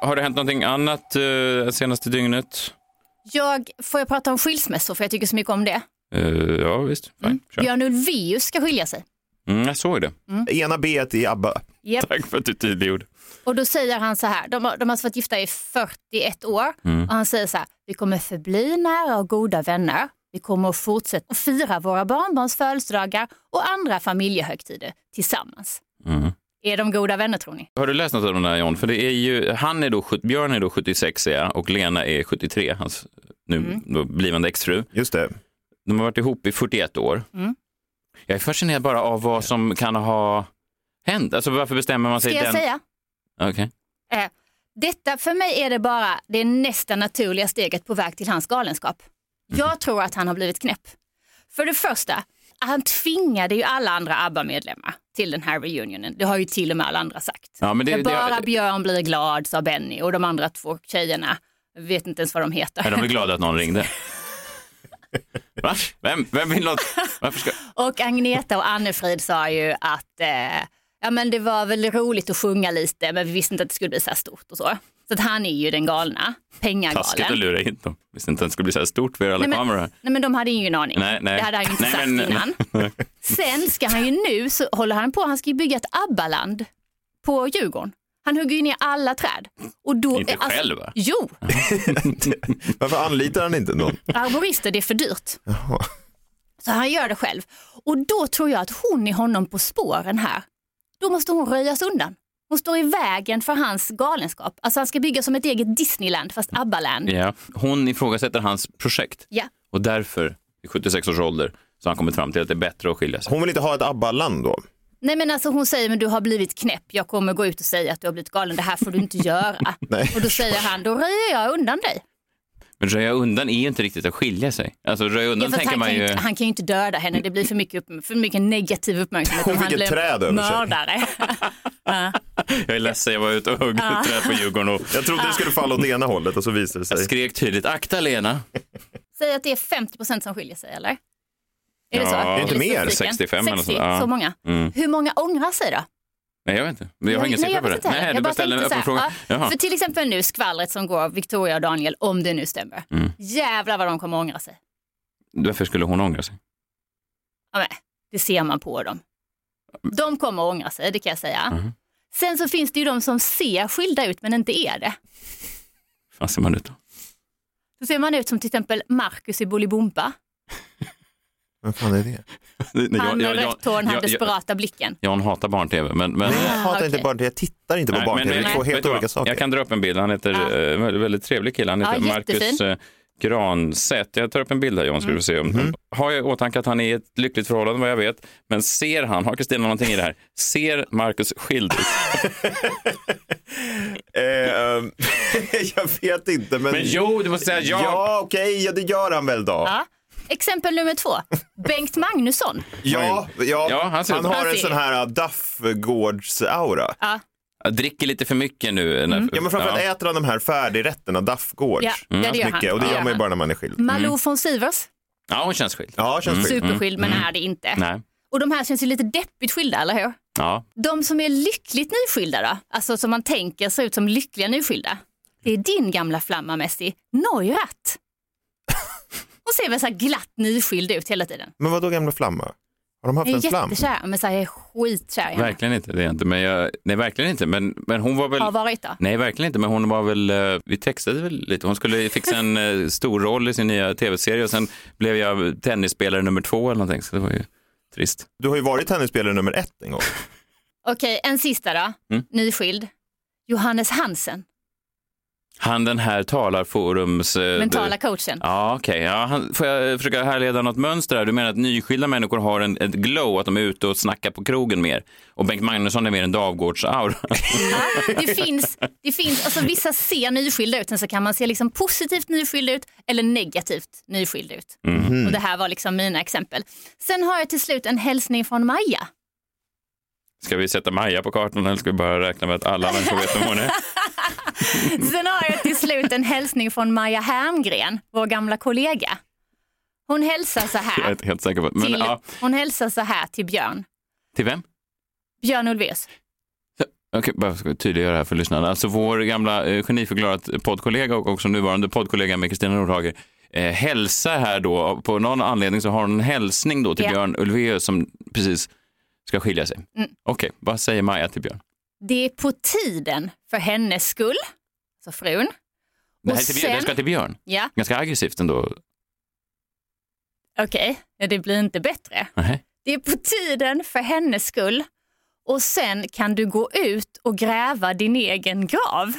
Speaker 2: Har det hänt någonting annat eh, senaste dygnet?
Speaker 4: Jag, får jag prata om skilsmässor för jag tycker så mycket om det.
Speaker 2: Eh, ja, visst. Fine. Kör.
Speaker 4: Björn Ulvaeus ska skilja sig.
Speaker 2: Mm, jag såg det.
Speaker 3: Ena B i ABBA.
Speaker 4: Japp.
Speaker 2: Tack för att du tydliggjorde.
Speaker 4: Och då säger han så här, de har, de har alltså varit gifta i 41 år
Speaker 2: Mm.
Speaker 4: och han säger så här, vi kommer förbli nära och goda vänner. Vi kommer att fortsätta att fira våra barnbarns födelsedagar och andra familjehögtider tillsammans.
Speaker 2: Mm.
Speaker 4: Är de goda vänner tror ni?
Speaker 2: Har du läst något av den här John? För det är ju, han är då, sjut- Björn är då 76 är jag, och Lena är 73, hans nu
Speaker 4: Mm.
Speaker 2: då blivande exfru.
Speaker 3: Just det.
Speaker 2: De har varit ihop i 41 år.
Speaker 4: Mm.
Speaker 2: Jag är fascinerad bara av vad som kan ha hänt. Alltså varför bestämmer man sig
Speaker 4: Ska jag
Speaker 2: den...
Speaker 4: säga?
Speaker 2: Okej.
Speaker 4: Eh, detta för mig är det bara det nästa naturliga steget på väg till hans galenskap.
Speaker 2: Mm.
Speaker 4: Jag tror att han har blivit knäpp. För det första, han tvingade ju alla andra ABBA-medlemmar till den här reunionen. Det har ju till och med alla andra sagt.
Speaker 2: Ja, men det- det-
Speaker 4: Men bara Björn blir glad, sa Benny och de andra två tjejerna vet inte ens vad de
Speaker 2: Men
Speaker 4: heter.
Speaker 2: de blir glada att någon ringde. Va? Vem, vem vill något? Varför ska...
Speaker 4: Och Agneta och Annefrid sa ju att eh, ja, men det var väl roligt att sjunga lite men vi visste inte att det skulle bli så här stort och så. Så att han är ju den galna,
Speaker 2: Taskigt att
Speaker 4: pengagalen.
Speaker 2: lura hit dem. Visste inte att det skulle bli så här stort för er alla
Speaker 4: Nej, men-
Speaker 2: kameror. här.
Speaker 4: Nej men de hade ju ingen aning.
Speaker 2: Nej, nej.
Speaker 4: Det hade han ju inte
Speaker 2: Nej,
Speaker 4: sagt
Speaker 2: men-
Speaker 4: innan. Sen ska han ju nu, så håller han på, han ska ju bygga ett ABBA-land på Djurgården. Han hugger ju ner alla träd. Och då, alltså-
Speaker 2: Inte själv, va?
Speaker 4: Jo,
Speaker 3: Varför anlitar han inte någon?
Speaker 4: arborister det är för dyrt.
Speaker 3: Jaha.
Speaker 4: Så han gör det själv. Och då tror jag att hon är honom på spåren här. Då måste hon röjas undan. Hon står i vägen för hans galenskap. Alltså han ska bygga som ett eget Disneyland fast ABBA-land.
Speaker 2: Ja. Hon ifrågasätter hans projekt
Speaker 4: Ja.
Speaker 2: och därför, i 76 års ålder, Så han kommit fram till att det är bättre att skilja sig.
Speaker 3: Hon vill inte ha ett ABBA-land då?
Speaker 4: Nej men alltså hon säger men du har blivit knäpp, jag kommer gå ut och säga att du har blivit galen, det här får du inte göra.
Speaker 3: Nej.
Speaker 4: och då säger han, då röjer jag undan dig.
Speaker 2: Men röja undan är ju inte riktigt att skilja sig. Alltså röja
Speaker 4: Ja,
Speaker 2: undan
Speaker 4: för att
Speaker 2: tänker
Speaker 4: han,
Speaker 2: man
Speaker 4: kan
Speaker 2: ju...
Speaker 4: inte, han kan ju inte döda henne, det blir för mycket, upp, för mycket negativ uppmärksamhet.
Speaker 3: Hon
Speaker 4: om
Speaker 3: fick
Speaker 4: han
Speaker 3: ett
Speaker 4: blir
Speaker 3: träd över sig.
Speaker 4: Mördare. Ja.
Speaker 2: Jag är ledsen, jag var ute och högg ett träd på Djurgården och
Speaker 3: Jag trodde det skulle falla
Speaker 4: Ah.
Speaker 3: åt ena hållet och så visade det
Speaker 2: jag
Speaker 3: sig.
Speaker 2: skrek tydligt akta Lena.
Speaker 4: Säg att det är 50 procent som skiljer sig eller? Är det så?
Speaker 2: Ja, det är
Speaker 3: inte mer,
Speaker 4: Statistiken?
Speaker 2: 65 eller något
Speaker 4: 60,
Speaker 2: sånt, ja.
Speaker 4: så många.
Speaker 2: Mm.
Speaker 4: Hur många ångrar sig då?
Speaker 2: Nej jag vet inte, jag har
Speaker 4: Nej,
Speaker 2: ingen
Speaker 4: nej,
Speaker 2: siffra
Speaker 4: jag
Speaker 2: på
Speaker 4: vet
Speaker 2: det.
Speaker 4: inte heller.
Speaker 2: Nej,
Speaker 4: Jag
Speaker 2: du
Speaker 4: bara
Speaker 2: bara ställer en
Speaker 4: tänkte
Speaker 2: öppen
Speaker 4: så här,
Speaker 2: fråga. Jaha.
Speaker 4: För till exempel nu skvallret som går Victoria och Daniel, om det nu stämmer.
Speaker 2: Mm.
Speaker 4: Jävlar vad de kommer ångra sig.
Speaker 2: Varför skulle hon ångra sig?
Speaker 4: Ja, men, det ser man på dem. De kommer ångra sig, det kan jag säga.
Speaker 2: Mhm.
Speaker 4: Sen så finns det ju de som ser skilda ut men inte är det.
Speaker 2: Fan ser man ut då?
Speaker 4: Så ser man ut som till exempel Marcus i Bolibompa.
Speaker 3: Vad fan är det?
Speaker 4: Han med
Speaker 2: Jag- jag-
Speaker 4: rött hår, den här
Speaker 2: jag- jag-
Speaker 4: desperata blicken.
Speaker 2: Jan hatar barn-tv, men... men...
Speaker 3: Jag hatar
Speaker 4: Ah, okej.
Speaker 3: inte barn jag tittar inte på
Speaker 2: Nej,
Speaker 3: barn-tv, det är två
Speaker 2: vet
Speaker 3: helt
Speaker 2: du vad?
Speaker 3: olika saker.
Speaker 2: Jag kan dra upp en bild. Han heter,
Speaker 4: Ja.
Speaker 2: eh, väldigt, väldigt trevlig kille. Han heter
Speaker 4: Ja,
Speaker 2: Marcus
Speaker 4: jättefin. Mm.
Speaker 2: eh, Gransätt. Jag tar upp en bild här John, ska du se. Om,
Speaker 3: Mm.
Speaker 2: Har jag i åtanke att han är i ett lyckligt förhållande vad jag vet. Men ser han, har Kristina någonting i det här? Ser Marcus skild ut?
Speaker 3: Eh, ehm, jag vet inte men...
Speaker 2: Men jo, du måste säga ja.
Speaker 3: Ja okej, ja, det gör han väl då.
Speaker 4: Ja. Exempel nummer två, Bengt Magnusson.
Speaker 3: Ja, ja,
Speaker 2: Ja, han
Speaker 3: han,
Speaker 2: ser ut-
Speaker 3: har
Speaker 4: Han
Speaker 3: en
Speaker 4: ser-
Speaker 3: sån här äh, Daffgårds-aura.
Speaker 4: Ja,
Speaker 2: Jag dricker lite för mycket nu. när-
Speaker 4: Mm.
Speaker 3: Ja, men framförallt äter han de här färdigrätterna, Daffgårds.
Speaker 4: ja, ja det gör han.
Speaker 3: Mycket, och det gör
Speaker 4: gör Mm.
Speaker 3: man ju
Speaker 4: han.
Speaker 3: bara när man är
Speaker 2: Mm.
Speaker 3: skild.
Speaker 4: Malou von Sivers,
Speaker 2: ja, hon känns skild.
Speaker 3: Ja,
Speaker 4: Mm.
Speaker 3: känns skild.
Speaker 4: superskild men är det inte.
Speaker 2: Mm. Nej.
Speaker 4: Och de här känns ju lite deppigt skilda, eller hur?
Speaker 2: Ja.
Speaker 4: De som är lyckligt nyskilda då, alltså som man tänker ser ut som lyckliga nyskilda. Det är din gamla flamma Messi, Neurath. Hon ser väl så här glatt nyskild ut hela tiden.
Speaker 3: Men vad då gamla flamma? Har de haft
Speaker 4: Jag
Speaker 3: en
Speaker 4: är
Speaker 3: flam?
Speaker 4: jättekär, men så här, jag är skitkär i henne.
Speaker 2: Verkligen inte. Det är jag inte. Men jag, nej, verkligen inte. Men, men hon var väl...
Speaker 4: Har varit då.
Speaker 2: Nej, verkligen inte. Men hon var väl, eh, vi textade väl lite. Hon skulle fixa en eh, stor roll i sin nya tv-serie och sen blev jag tennisspelare nummer två eller någonting. Så det var ju trist.
Speaker 3: Du har ju varit tennisspelare nummer ett en gång.
Speaker 4: Okej, en sista då.
Speaker 2: Mm.
Speaker 4: Nyskild. Johannes Hansen,
Speaker 2: Han den här talarforums... eh,
Speaker 4: mentala coachen.
Speaker 2: Ja, okej. Ja, han- får jag eh, försöka härleda något mönster här? Du menar att nyskilda människor har en, ett glow, att de är ute och snackar på krogen mer? Och Bengt Magnusson är mer en Dafgårds-aura?
Speaker 4: Ja, det finns, det finns, alltså vissa ser nyskilda ut, sen så kan man se liksom positivt nyskild ut eller negativt nyskild ut.
Speaker 2: Mm.
Speaker 4: Och det här var liksom mina exempel. Sen har jag till slut en hälsning från Maja.
Speaker 2: Ska vi sätta Maja på kartan eller ska vi bara räkna med att alla människor vet vem hon är?
Speaker 4: Sen har jag till slut en hälsning från Maja Hermgren, vår gamla kollega. Hon hälsar så
Speaker 2: Jag är
Speaker 4: här
Speaker 2: inte helt säker på det. Men,
Speaker 4: till,
Speaker 2: ja,
Speaker 4: hon hälsar så här till Björn.
Speaker 2: till vem?
Speaker 4: Björn Ulvaeus.
Speaker 2: Okej, bara för att tydliggöra här för lyssnarna. Alltså vår gamla eh, geniförklarat poddkollega och också nuvarande poddkollega med Kristina Nordhager eh, hälsa här då. På någon anledning så har hon en hälsning då till
Speaker 4: Ja.
Speaker 2: Björn Ulvaeus som precis ska skilja sig.
Speaker 4: Mm.
Speaker 2: Okej, vad säger Maja till Björn?
Speaker 4: Det är på tiden för hennes skull, så frun.
Speaker 2: Det
Speaker 4: Och
Speaker 2: här är till Björn. Det
Speaker 4: sen-
Speaker 2: ska till Björn.
Speaker 4: Ja,
Speaker 2: Ganska aggressivt ändå.
Speaker 4: okej, Ja, det blir inte bättre.
Speaker 2: Nähä.
Speaker 4: Det är på tiden för hennes skull. Och sen kan du gå ut och gräva din egen grav.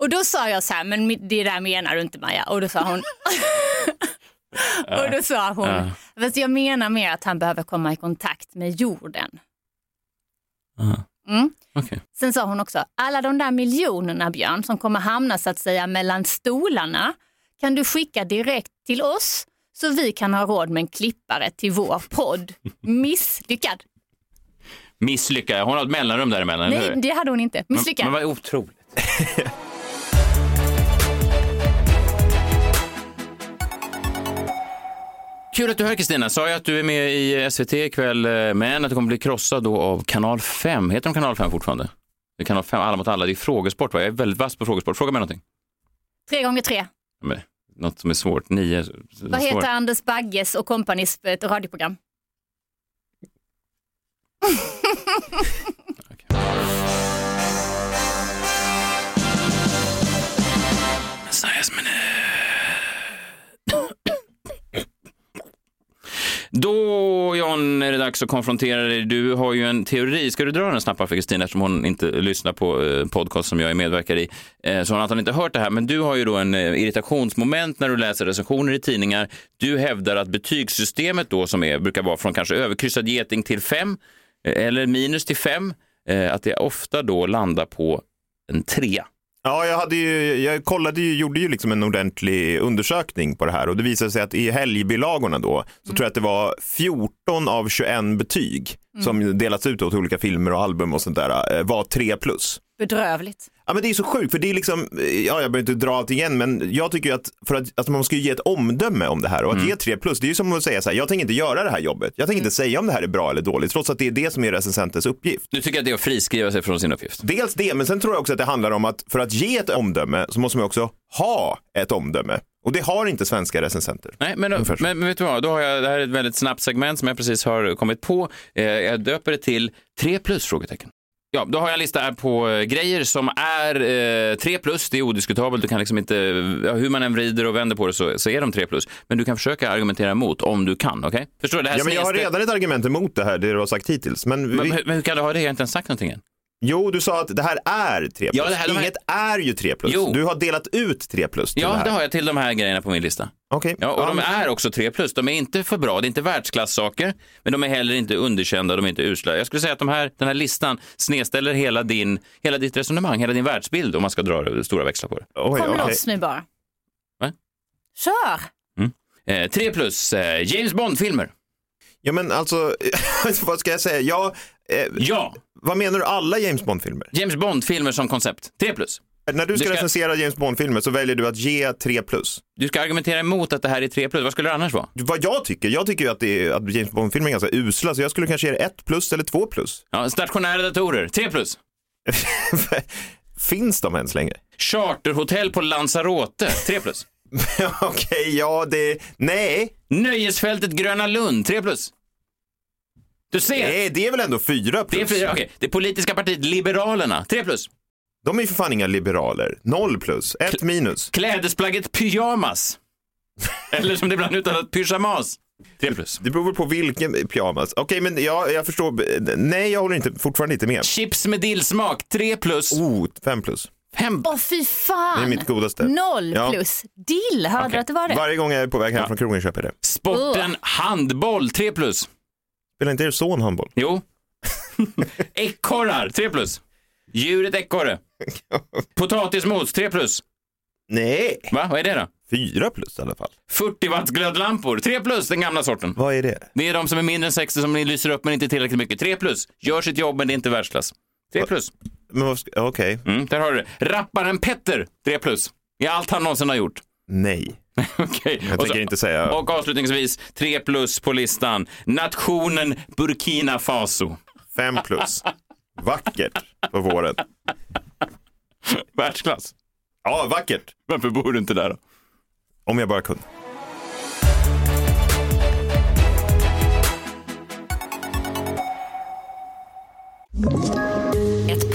Speaker 4: Och då sa jag så här, men mi- det där menar du inte Maja. Och då sa hon, och då sa hon,
Speaker 2: Ja.
Speaker 4: fast jag menar mer att han behöver komma i kontakt med jorden.
Speaker 2: Aha.
Speaker 4: Mm.
Speaker 2: Okej.
Speaker 4: Sen sa hon också, alla de där miljonerna Björn som kommer hamna så att säga mellan stolarna kan du skicka direkt till oss så vi kan ha råd med en klippare till vår podd. Misslyckad.
Speaker 2: Misslyckad. Hon har ett mellanrum däremellan, eller
Speaker 4: Nej,
Speaker 2: hur?
Speaker 4: det hade hon inte. Misslyckad.
Speaker 2: Men, men vad otroligt. Kul att du är här Kristina. Sa jag att du är med i SVT ikväll, eh, men att du kommer bli krossad då av Kanal 5. Heter de Kanal 5 fortfarande? Det är Kanal 5, Alla mot alla. Det är frågesport va? Jag är väldigt vass på frågesport. Fråga mig någonting.
Speaker 4: Tre gånger tre.
Speaker 2: Men, något som är svårt. Nio.
Speaker 4: Vad heter Anders Bagges och kompanis ett radioprogram?
Speaker 2: Messias minut. Då John är det dags att konfrontera dig. Du har ju en teori. Ska du dra den snabbt för Kristin eftersom hon inte lyssnar på eh, podcast som jag är medverkare i. Eh, så hon har antagligen inte hört det här. Men du har ju då en eh, irritationsmoment när du läser recensioner i tidningar. Du hävdar att betygssystemet då som är, brukar vara från kanske överkryssad geting till fem eh, eller minus till fem. eh, Att det ofta då landar på en trea.
Speaker 3: Ja, jag, hade ju, jag kollade ju, gjorde ju liksom en ordentlig undersökning på det här och det visade sig att i helgbilagorna då så tror jag att det var 14 av 21 betyg som delats ut då till olika filmer och album och sånt där eh, var 3 plus.
Speaker 4: Bedrövligt.
Speaker 3: Ja, men det är så sjukt, för det är liksom, ja, jag behöver inte dra allt igen, men jag tycker ju att, för att alltså, man ska ju ge ett omdöme om det här och att ge 3 plus, det är ju som att säga så här, jag tänker inte göra det här jobbet, jag tänker inte säga om det här är bra eller dåligt, trots att det är det som är recensentens uppgift.
Speaker 2: Du tycker att det är att friskriva sig från sin uppgift?
Speaker 3: Dels det, men sen tror jag också att det handlar om att för att ge ett omdöme så måste man också ha ett omdöme. Och det har inte svenska recensenter.
Speaker 2: Nej, men, men,
Speaker 3: Ungefär så.
Speaker 2: men vet du vad? Då har jag, det här är ett väldigt snabbt segment som jag precis har kommit på. Eh, jag döper det till 3 plus? frågetecken. Ja, då har jag en lista här på eh, grejer som är eh, 3 plus. Det är odiskutabelt. Du kan liksom inte, ja, hur man än vrider och vänder på det så, så är de 3 plus. Men du kan försöka argumentera emot om du kan. Okej? Förstår du? Det här
Speaker 3: Ja, men jag har
Speaker 2: snedsteg-
Speaker 3: redan ett argument emot det här, det du har sagt hittills. Men,
Speaker 2: Men,
Speaker 3: vi,
Speaker 2: hur- men hur kan du ha det? Jag har inte ens sagt någonting än.
Speaker 3: jo, du sa att det här är 3 plus.
Speaker 2: Ja, det här- de här-
Speaker 3: Inget är ju 3 plus.
Speaker 2: Jo.
Speaker 3: Du har delat ut 3 plus till det
Speaker 2: Ja,
Speaker 3: här.
Speaker 2: det har jag till de här grejerna på min lista.
Speaker 3: Okej.
Speaker 2: Ja, och de
Speaker 3: men-
Speaker 2: är också 3 plus. De är inte för bra, det är inte världsklassaker, men de är heller inte underkända, de är inte usla. Jag skulle säga att de här, den här listan snedställer hela, din, hela ditt resonemang, hela din världsbild om man ska dra det- stora växlar på det.
Speaker 3: Oj,
Speaker 4: Kom
Speaker 3: okej.
Speaker 4: loss nu bara.
Speaker 2: Va?
Speaker 4: Kör!
Speaker 2: Eh, 3 plus, eh, James Bond-filmer.
Speaker 3: Ja, men alltså, vad ska jag säga? Jag, eh,
Speaker 2: Ja,
Speaker 3: Vad menar du, alla James Bond-filmer?
Speaker 2: James Bond-filmer som koncept. 3 plus.
Speaker 3: När du ska,
Speaker 2: ska-
Speaker 3: recensera James Bond-filmer så väljer du att ge 3 plus.
Speaker 2: Du ska argumentera emot att det här är 3 plus. Vad skulle det annars vara?
Speaker 3: Vad jag tycker, jag tycker ju att, det är, att James Bond-filmer är ganska usla, så jag skulle kanske ge det 1 plus eller 2 plus.
Speaker 2: Ja, stationära datorer, 3 plus.
Speaker 3: Finns de ens längre?
Speaker 2: Charterhotell på Lanzarote, 3 plus.
Speaker 3: Okej, ja det... Nej.
Speaker 2: Nöjesfältet Gröna Lund, 3 plus. Du ser!
Speaker 3: Nej, eh, det är väl ändå fyra plus?
Speaker 2: Det är fyra, okej. Det politiska partiet Liberalerna, 3 plus.
Speaker 3: De är ju för fan inga liberaler. Noll plus, ett minus.
Speaker 2: Klädesplagget pyjamas. Eller som det ibland uttalas, pyjamas. Tre plus.
Speaker 3: Det beror väl på vilken pyjamas. Okej, men jag, jag förstår. Nej, jag håller inte, fortfarande inte med.
Speaker 2: Chips med dillsmak, tre plus.
Speaker 3: Oh, fem plus.
Speaker 2: Fem.
Speaker 4: Åh fy fan!
Speaker 3: Det är mitt godaste.
Speaker 4: Noll
Speaker 3: Ja.
Speaker 4: plus dill, hörde
Speaker 2: Okej.
Speaker 4: du att det var det?
Speaker 3: Varje gång jag är på väg hem från krogen köper jag det.
Speaker 2: Sporten handboll, tre plus.
Speaker 3: Spelar inte er son handboll?
Speaker 2: Jo. Ekorrar, tre plus. Djuret ekorre. Potatismos, tre plus.
Speaker 3: Nej.
Speaker 2: Va, vad är det då?
Speaker 3: Fyra plus i alla fall.
Speaker 2: 40 watts glödlampor, tre plus, den gamla sorten.
Speaker 3: Vad är det?
Speaker 2: Det är de som är mindre än 60 som ni lyser upp men inte tillräckligt mycket. Tre plus. Gör sitt jobb men det är inte världsklass. Tre plus.
Speaker 3: Men vad ska- Okej,
Speaker 2: Mm, där har du det. Rapparen Petter, 3 plus. I allt han någonsin har gjort.
Speaker 3: nej.
Speaker 2: Okej.
Speaker 3: Jag
Speaker 2: Och
Speaker 3: tänker
Speaker 2: så-
Speaker 3: inte säga.
Speaker 2: Och avslutningsvis, 3 plus på listan. Nationen Burkina Faso.
Speaker 3: Fem plus. Vackert på våren.
Speaker 2: Världsklass.
Speaker 3: Ja, vackert.
Speaker 2: Varför bor du inte där då?
Speaker 3: Om jag bara kunde.
Speaker 6: Ett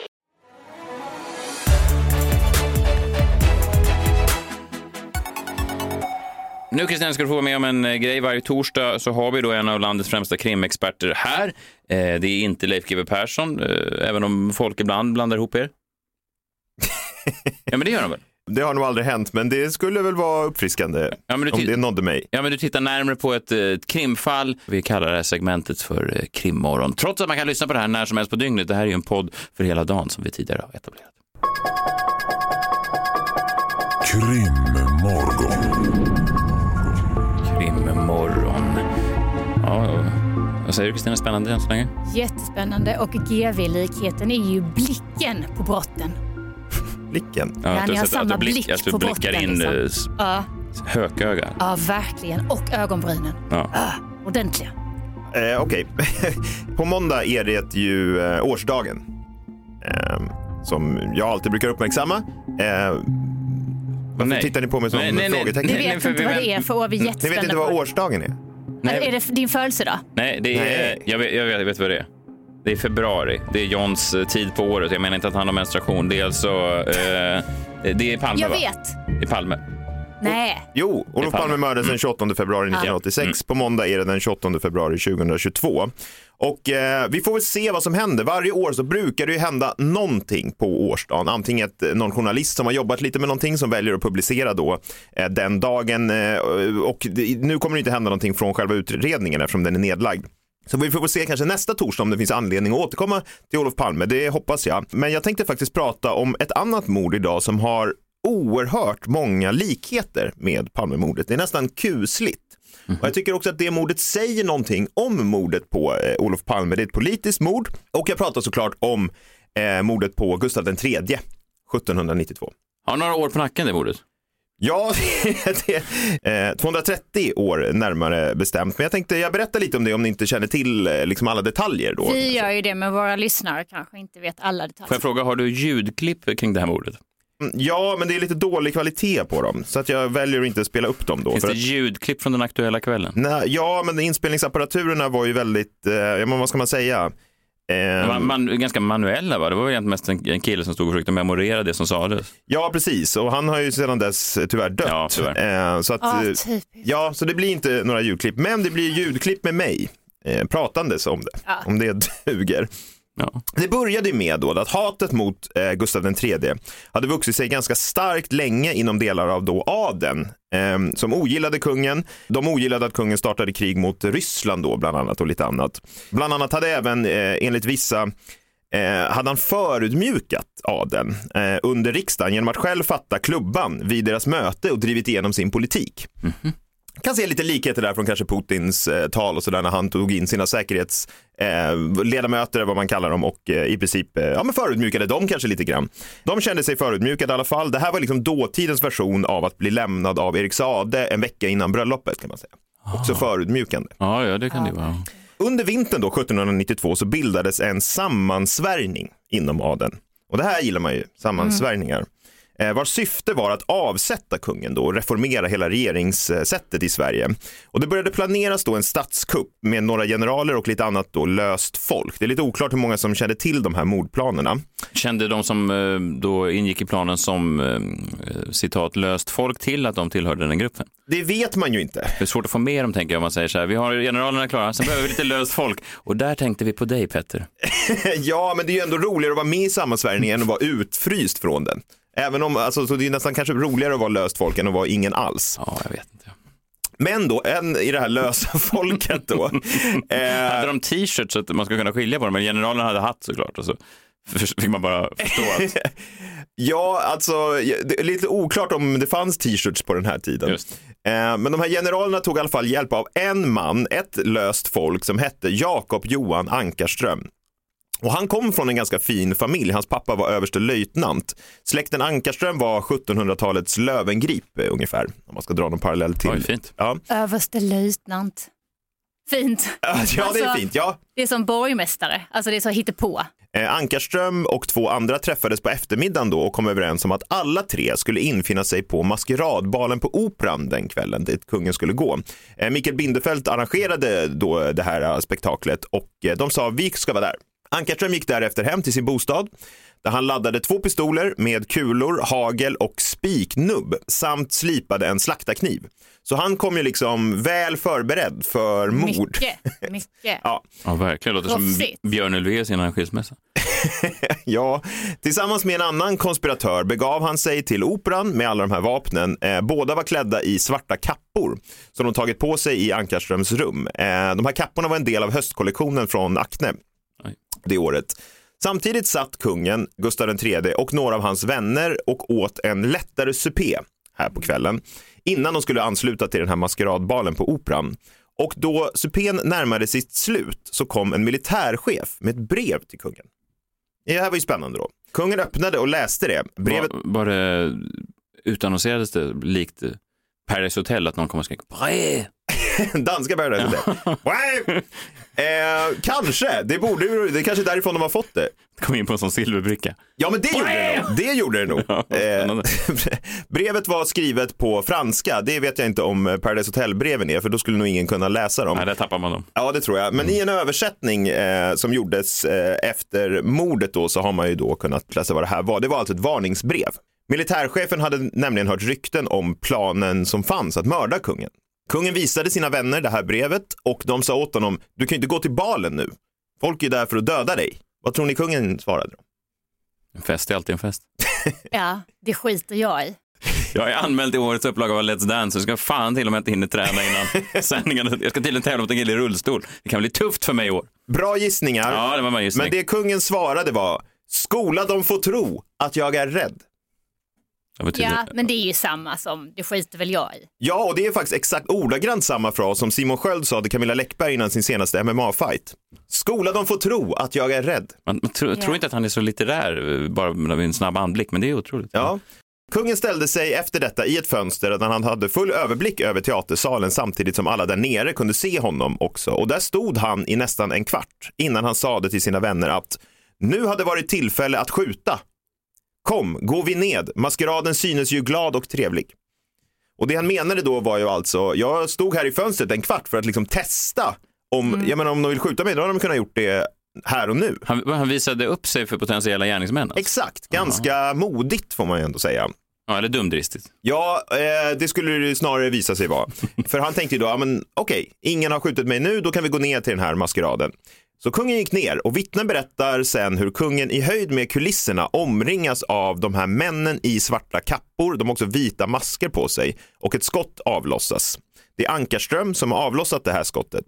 Speaker 2: Nu Kristina ska du få vara med om en eh, grej. Varje torsdag så har vi då en av landets främsta krimexperter här. Eh, det är inte Leif GW Persson, eh, även om folk ibland blandar ihop er. ja, men det gör de väl?
Speaker 3: Det har nog aldrig hänt, men det skulle väl vara uppfriskande
Speaker 2: Ja, men du
Speaker 3: om
Speaker 2: ty-
Speaker 3: det nådde mig.
Speaker 2: Ja, men du tittar närmare på ett, eh, ett krimfall. Vi kallar det här segmentet för eh, krimmorgon. Trots att man kan lyssna på det här när som helst på dygnet. Det här är ju en podd för hela dagen som vi tidigare har etablerat. Krimmorgon. Ja, ja. Vad säger du Kristina? Spännande än så länge?
Speaker 4: Jättespännande och GV-likheten är ju blicken på brotten.
Speaker 3: Blicken.
Speaker 2: Ja, du
Speaker 4: ni har
Speaker 2: sett- att
Speaker 4: samma
Speaker 2: du blick-
Speaker 4: blick
Speaker 2: Att du
Speaker 4: på
Speaker 2: blickar
Speaker 4: botten,
Speaker 2: in
Speaker 4: liksom.
Speaker 2: eh, s-
Speaker 4: Ja,
Speaker 2: hököga.
Speaker 4: ja verkligen. Och ögonbrynen.
Speaker 2: Ja.
Speaker 4: Ordentliga.
Speaker 3: Eh, Okej. på måndag är det ju eh, årsdagen. Eh, som jag alltid brukar uppmärksamma. Eh, varför
Speaker 2: Nej.
Speaker 3: tittar ni på mig som
Speaker 2: Nej, nej, nej.
Speaker 3: frågetecken?
Speaker 4: Du
Speaker 2: Nej,
Speaker 4: vet
Speaker 2: för
Speaker 4: inte vad
Speaker 2: vi-
Speaker 4: det är för år, vi är
Speaker 3: Ni vet inte
Speaker 4: jättespända
Speaker 3: vad
Speaker 4: på.
Speaker 3: årsdagen är?
Speaker 4: Eller Är det din födelsedag?
Speaker 2: Nej, det är,
Speaker 3: Nej.
Speaker 2: Jag, vet, jag vet- jag vet vad det är. Det är februari. Det är Johns eh, tid på året. Jag menar inte att han har menstruation. Det är alltså... Eh, det är Palme,
Speaker 4: Jag
Speaker 2: va?
Speaker 4: vet.
Speaker 2: Det är Palme.
Speaker 4: Nej.
Speaker 3: Jo, Olof
Speaker 2: Det är Palme.
Speaker 3: Palme mördades den 28 februari 1986. På måndag är det den 28 februari 2022. Och eh, vi får väl se vad som händer. Varje år så brukar det ju hända någonting på årsdagen. Antingen ett, eh, någon journalist som har jobbat lite med någonting som väljer att publicera då eh, den dagen. Eh, och det, nu kommer det inte hända någonting från själva utredningen eftersom den är nedlagd. Så vi får väl se kanske nästa torsdag om det finns anledning att återkomma till Olof Palme. Det hoppas jag. Men jag tänkte faktiskt prata om ett annat mord idag som har oerhört många likheter med Palmemordet. Det är nästan kusligt. Och jag tycker också att det mordet säger någonting om mordet på eh, Olof Palme. Det är ett politiskt mord och jag pratar såklart om eh, mordet på Gustav III 1792.
Speaker 2: Har några år på nacken det mordet.
Speaker 3: Ja, det är, eh, 230 år närmare bestämt. Men jag tänkte jag berättar lite om det om ni inte känner till eh, liksom alla detaljer. Då.
Speaker 4: Vi gör ju det, men våra lyssnare kanske inte vet alla
Speaker 2: Får jag
Speaker 4: detaljer.
Speaker 2: fråga, har du ljudklipp kring det här mordet?
Speaker 3: Mm, Ja, men det är lite dålig kvalitet på dem så att jag väljer att inte spela upp dem då.
Speaker 2: Finns
Speaker 3: för
Speaker 2: det
Speaker 3: att-
Speaker 2: ljudklipp från den aktuella kvällen?
Speaker 3: Nej, ja, men inspelningsapparaturerna var ju väldigt, eh, ja, men vad ska man säga? Eh,
Speaker 2: Man, man, ganska manuella va? Det var väl egentligen mest en, en kille som stod och försökte memorera det som sades.
Speaker 3: Ja, precis. Och han har ju sedan dess eh, tyvärr dött.
Speaker 2: Ja,
Speaker 3: Eh, så att,
Speaker 4: Ja,
Speaker 3: eh,
Speaker 4: typiskt.
Speaker 3: ja, så det blir inte några ljudklipp. Men det blir ljudklipp med mig eh, pratandes om det.
Speaker 4: Ja.
Speaker 3: Om det duger.
Speaker 2: Ja.
Speaker 3: Det började ju med då att hatet mot eh, Gustav III hade vuxit sig ganska starkt länge inom delar av då adeln eh, som ogillade kungen. De ogillade att kungen startade krig mot Ryssland då bland annat och lite annat. Bland annat hade även eh, enligt vissa eh, hade han förutmjukat adeln eh, under riksdagen genom att själv fatta klubban vid deras möte och drivit igenom sin politik kan se lite likheter där från kanske Putins eh, tal och sådär när han tog in sina säkerhetsledamöter, eh, ledamöter, vad man kallar dem, och eh, i princip eh, ja, men förutmjukade dem kanske lite grann. De kände sig förutmjukade i alla fall. Det här var liksom dåtidens version av att bli lämnad av Erik Sade en vecka innan bröllopet kan man säga. Också förutmjukande.
Speaker 2: Ja, ja, det kan det vara.
Speaker 3: Under vintern då, 1792 så bildades en sammansvärjning inom adeln. Och det här gillar man ju, sammansvärjningar. Eh, vars syfte var att avsätta kungen då och reformera hela regeringssättet i Sverige. Och det började planeras då en statskupp med några generaler och lite annat då löst folk. Det är lite oklart hur många som kände till de här mordplanerna.
Speaker 2: Kände de som eh, då ingick i planen som eh, citat löst folk till att de tillhörde den gruppen?
Speaker 3: Det vet man ju inte.
Speaker 2: Det är svårt att få med dem tänker jag om man säger så här. Vi har generalerna klara, sen behöver vi lite löst folk. Och där tänkte vi på dig Petter.
Speaker 3: ja, men det är ju ändå roligare att vara med i sammansvärjningen än att vara utfryst från den. Även om, alltså, så det är nästan kanske roligare att vara löst folk än att vara ingen alls.
Speaker 2: Ja, jag vet inte.
Speaker 3: Men då, en i det här lösa folket då.
Speaker 2: Hade
Speaker 3: Eh,
Speaker 2: de t-shirts så att man skulle kunna skilja på dem? Men generalerna hade hatt såklart. Och så förs- fick man bara förstå att
Speaker 3: ja, alltså, det är lite oklart om det fanns t-shirts på den här tiden.
Speaker 2: Just.
Speaker 3: Eh, men de här generalerna tog i alla fall hjälp av en man, ett löst folk som hette Jakob Johan Ankarström. Och han kom från en ganska fin familj. Hans pappa var överste löjtnant. Släkten Ankarström var 1700-talets Lövengrip eh, ungefär, om man ska dra någon parallell till.
Speaker 2: Oj, fint.
Speaker 3: Ja,
Speaker 4: Överstelöjtnant. Fint.
Speaker 3: ja det är
Speaker 4: Alltså-
Speaker 3: fint. Ja.
Speaker 4: Det är som borgmästare. Alltså det är så hittepå.
Speaker 3: Eh, Ankarström och två andra träffades på eftermiddagen då och kom överens om att alla tre skulle infinna sig på maskeradbalen på Operan den kvällen dit kungen skulle gå. Eh, Mikael Bindefeld arrangerade då det här eh, spektaklet och eh, de sa vi ska vara där. Ankarström gick därefter hem till sin bostad där han laddade två pistoler med kulor, hagel och spiknubb samt slipade en slaktarkniv. Så han kom ju liksom väl förberedd för mord.
Speaker 4: Mycket, mycket.
Speaker 3: Ja.
Speaker 2: Ja, verkligen. Låter som
Speaker 4: Proffsigt.
Speaker 2: Björn Ulvaeus innan en skilsmässa.
Speaker 3: Ja, tillsammans med en annan konspiratör begav han sig till operan med alla de här vapnen. Eh, båda var klädda i svarta kappor som de tagit på sig i Ankarströms rum. Eh, de här kapporna var en del av höstkollektionen från Acne
Speaker 2: Oj.
Speaker 3: det året. Samtidigt satt kungen, Gustav III och några av hans vänner och åt en lättare supé här på kvällen innan de skulle ansluta till den här maskeradbalen på Operan. Och då supén närmade sitt slut så kom en militärchef med ett brev till kungen. Det här var ju spännande då. Kungen öppnade och läste det. Brevet...
Speaker 2: Var, var det utannonserades det likt Paradise Hotel att någon kom och skrek "Bre!"
Speaker 3: Danska Paradise Hotel. Wow! Eh, kanske, det, borde, ju- det är kanske är därifrån de har fått det.
Speaker 2: Kom in på en sån silverbricka.
Speaker 3: Ja, men det gjorde det nog. Det gjorde det nog.
Speaker 2: Ja, vad spännande.
Speaker 3: Eh, brevet var skrivet på franska. Det vet jag inte om Paradise Hotel-breven är, för då skulle nog ingen kunna läsa dem.
Speaker 2: Nej, där tappar man dem.
Speaker 3: Ja, det tror jag. Men i en
Speaker 2: Mm.
Speaker 3: översättning eh, som gjordes eh, efter mordet då, så har man ju då kunnat läsa vad det här var. Det var alltså ett varningsbrev. Militärchefen hade nämligen hört rykten om planen som fanns att mörda kungen. Kungen visade sina vänner det här brevet och de sa åt honom, du kan ju inte gå till balen nu. Folk är där för att döda dig. Vad tror ni kungen svarade? då?
Speaker 2: En fest är alltid en fest.
Speaker 4: Ja, det skiter jag i.
Speaker 2: Jag är anmäld till årets upplaga av Let's Dance, så jag ska fan till och med inte hinna träna innan sändningen. Jag ska tydligen tävla mot en kille i rullstol. Det kan bli tufft för mig i år.
Speaker 3: Bra gissningar.
Speaker 2: Ja, det var min gissning.
Speaker 3: Men det kungen svarade var, skola dem få tro att jag är rädd.
Speaker 2: Vad betyder
Speaker 4: Ja,
Speaker 2: det?
Speaker 4: men det är ju samma som det skiter väl jag i.
Speaker 3: Ja, och det är faktiskt exakt ordagrant samma fras som Simon Sköld sa till Camilla Läckberg innan sin senaste MMA-fight. Skola dem få tro att jag är rädd.
Speaker 2: Man, man tror, tror inte att han är så litterär eh, bara med en snabb anblick, men det är otroligt.
Speaker 3: Ja. Kungen ställde sig efter detta i ett fönster där han hade full överblick över teatersalen samtidigt som alla där nere kunde se honom också. Och där stod han i nästan en kvart innan han sade till sina vänner att nu hade varit tillfälle att skjuta. Kom, gå vi ned. Maskeraden synes ju glad och trevlig. Och det han menade då var ju alltså, jag stod här i fönstret en kvart för att liksom testa om, jag menar, om de vill skjuta mig, då hade de kunnat gjort det här och nu.
Speaker 2: Han, han visade upp sig för potentiella gärningsmän. Alltså.
Speaker 3: Exakt, ganska modigt får man ju ändå säga.
Speaker 2: Ja, eller dumdristigt.
Speaker 3: Ja, eh, det skulle det ju snarare visa sig vara. För han tänkte ju då, ja, men okej, ingen har skjutit mig nu, då kan vi gå ner till den här maskeraden. Så kungen gick ner och vittnen berättar sen hur kungen i höjd med kulisserna omringas av de här männen i svarta kappor. De har också vita masker på sig och ett skott avlossas. Det är Ankarström som har avlossat det här skottet.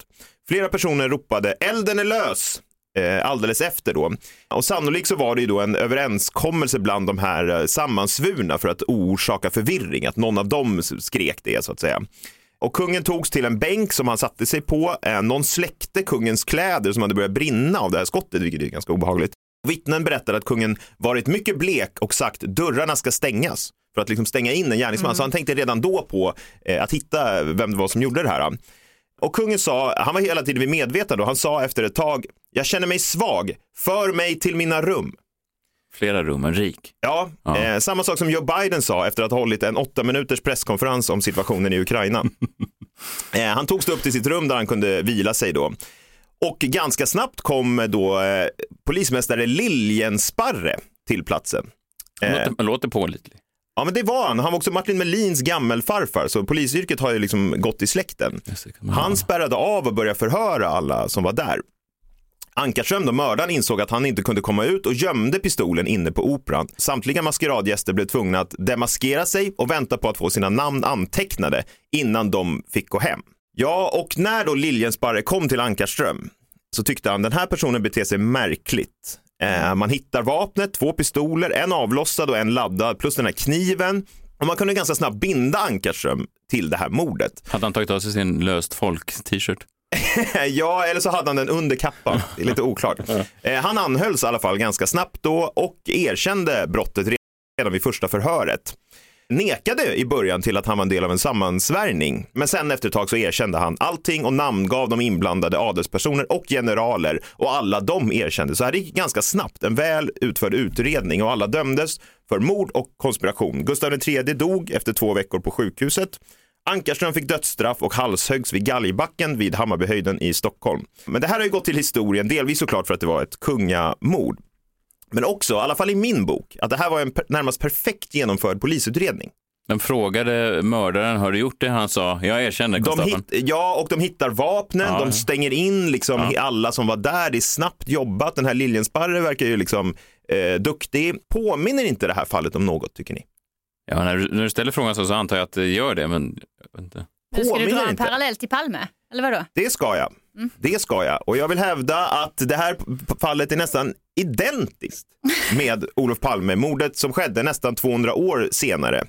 Speaker 3: Flera personer ropade elden är lös eh, alldeles efter då. Och sannolikt så var det ju då en överenskommelse bland de här eh, sammansvurna för att orsaka förvirring, att någon av dem s- skrek det så att säga. Och kungen togs till en bänk som han satte sig på. Eh, Någon släckte kungens kläder som hade börjat brinna av det här skottet, vilket är ganska obehagligt. Vittnen berättade att kungen varit mycket blek och sagt dörrarna ska stängas för att liksom stänga in en gärningsman. Så han tänkte redan då på eh, att hitta vem det var som gjorde det här. Och kungen sa, han var hela tiden vid medvetande och han sa efter ett tag, jag känner mig svag, för mig till mina rum.
Speaker 2: Flera rum, en rik.
Speaker 3: Ja,
Speaker 2: Ja.
Speaker 3: Eh, samma sak som Joe Biden sa efter att ha hållit en åtta minuters presskonferens om situationen i Ukraina. eh, han togs upp till sitt rum där han kunde vila sig då. Och ganska snabbt kom då eh, polismästare Liljensparre till platsen. Eh,
Speaker 2: Låter, låter pålitlig.
Speaker 3: ja men det var han, han var också Martin Melins gammelfarfar så polisyrket har ju liksom gått i släkten. Han spärrade av och började förhöra alla som var där. Ankarström, då mördaren, insåg att han inte kunde komma ut och gömde pistolen inne på operan. Samtliga maskeradgäster blev tvungna att demaskera sig och vänta på att få sina namn antecknade innan de fick gå hem. Ja, och när då Liljensparre kom till Ankarström så tyckte han den här personen beter sig märkligt. Eh, man hittar vapnet, två pistoler, en avlossad och en laddad plus den här kniven. Och man kunde ganska snabbt binda Ankarström till det här mordet.
Speaker 2: Hade han tagit av sig sin löst folk-t-shirt?
Speaker 3: Eh, Ja, eller så hade han den under kappan. Det är lite oklart. Eh, Han anhölls i alla fall ganska snabbt då och erkände brottet redan vid första förhöret. Nekade i början till att han var en del av en sammansvärjning, men sen efter ett tag så erkände han allting och namngav de inblandade adelspersoner och generaler och alla de erkände. Så här gick ganska snabbt, en väl utförd utredning och alla dömdes för mord och konspiration. Gustav III dog efter två veckor på sjukhuset. Ankarström fick dödsstraff och halshöggs vid Galgbacken vid Hammarbyhöjden i Stockholm. Men det här har ju gått till historien, delvis såklart för att det var ett kungamord. Men också, i alla fall i min bok, att det här var en per- närmast perfekt genomförd polisutredning.
Speaker 2: Den frågade mördaren, har du gjort det? Han sa, jag erkänner,
Speaker 3: De
Speaker 2: Konstapeln.
Speaker 3: hit, ja, och de hittar vapnen,
Speaker 2: Ja, ja.
Speaker 3: de stänger in liksom alla som var där. Det är snabbt jobbat. Den här Liljensparre verkar ju liksom eh, duktig. Påminner inte det här fallet om något, tycker ni?
Speaker 2: Ja, när, du, när du ställer frågan så, så antar jag att det gör det, men jag vet inte.
Speaker 4: Nu ska du
Speaker 3: Påminner
Speaker 4: dra en
Speaker 3: inte.
Speaker 4: parallell till Palme, eller vadå?
Speaker 3: Det ska jag. Det ska jag. Och jag vill hävda att det här p- p- fallet är nästan identiskt med Olof Palme-mordet som skedde nästan 200 år senare.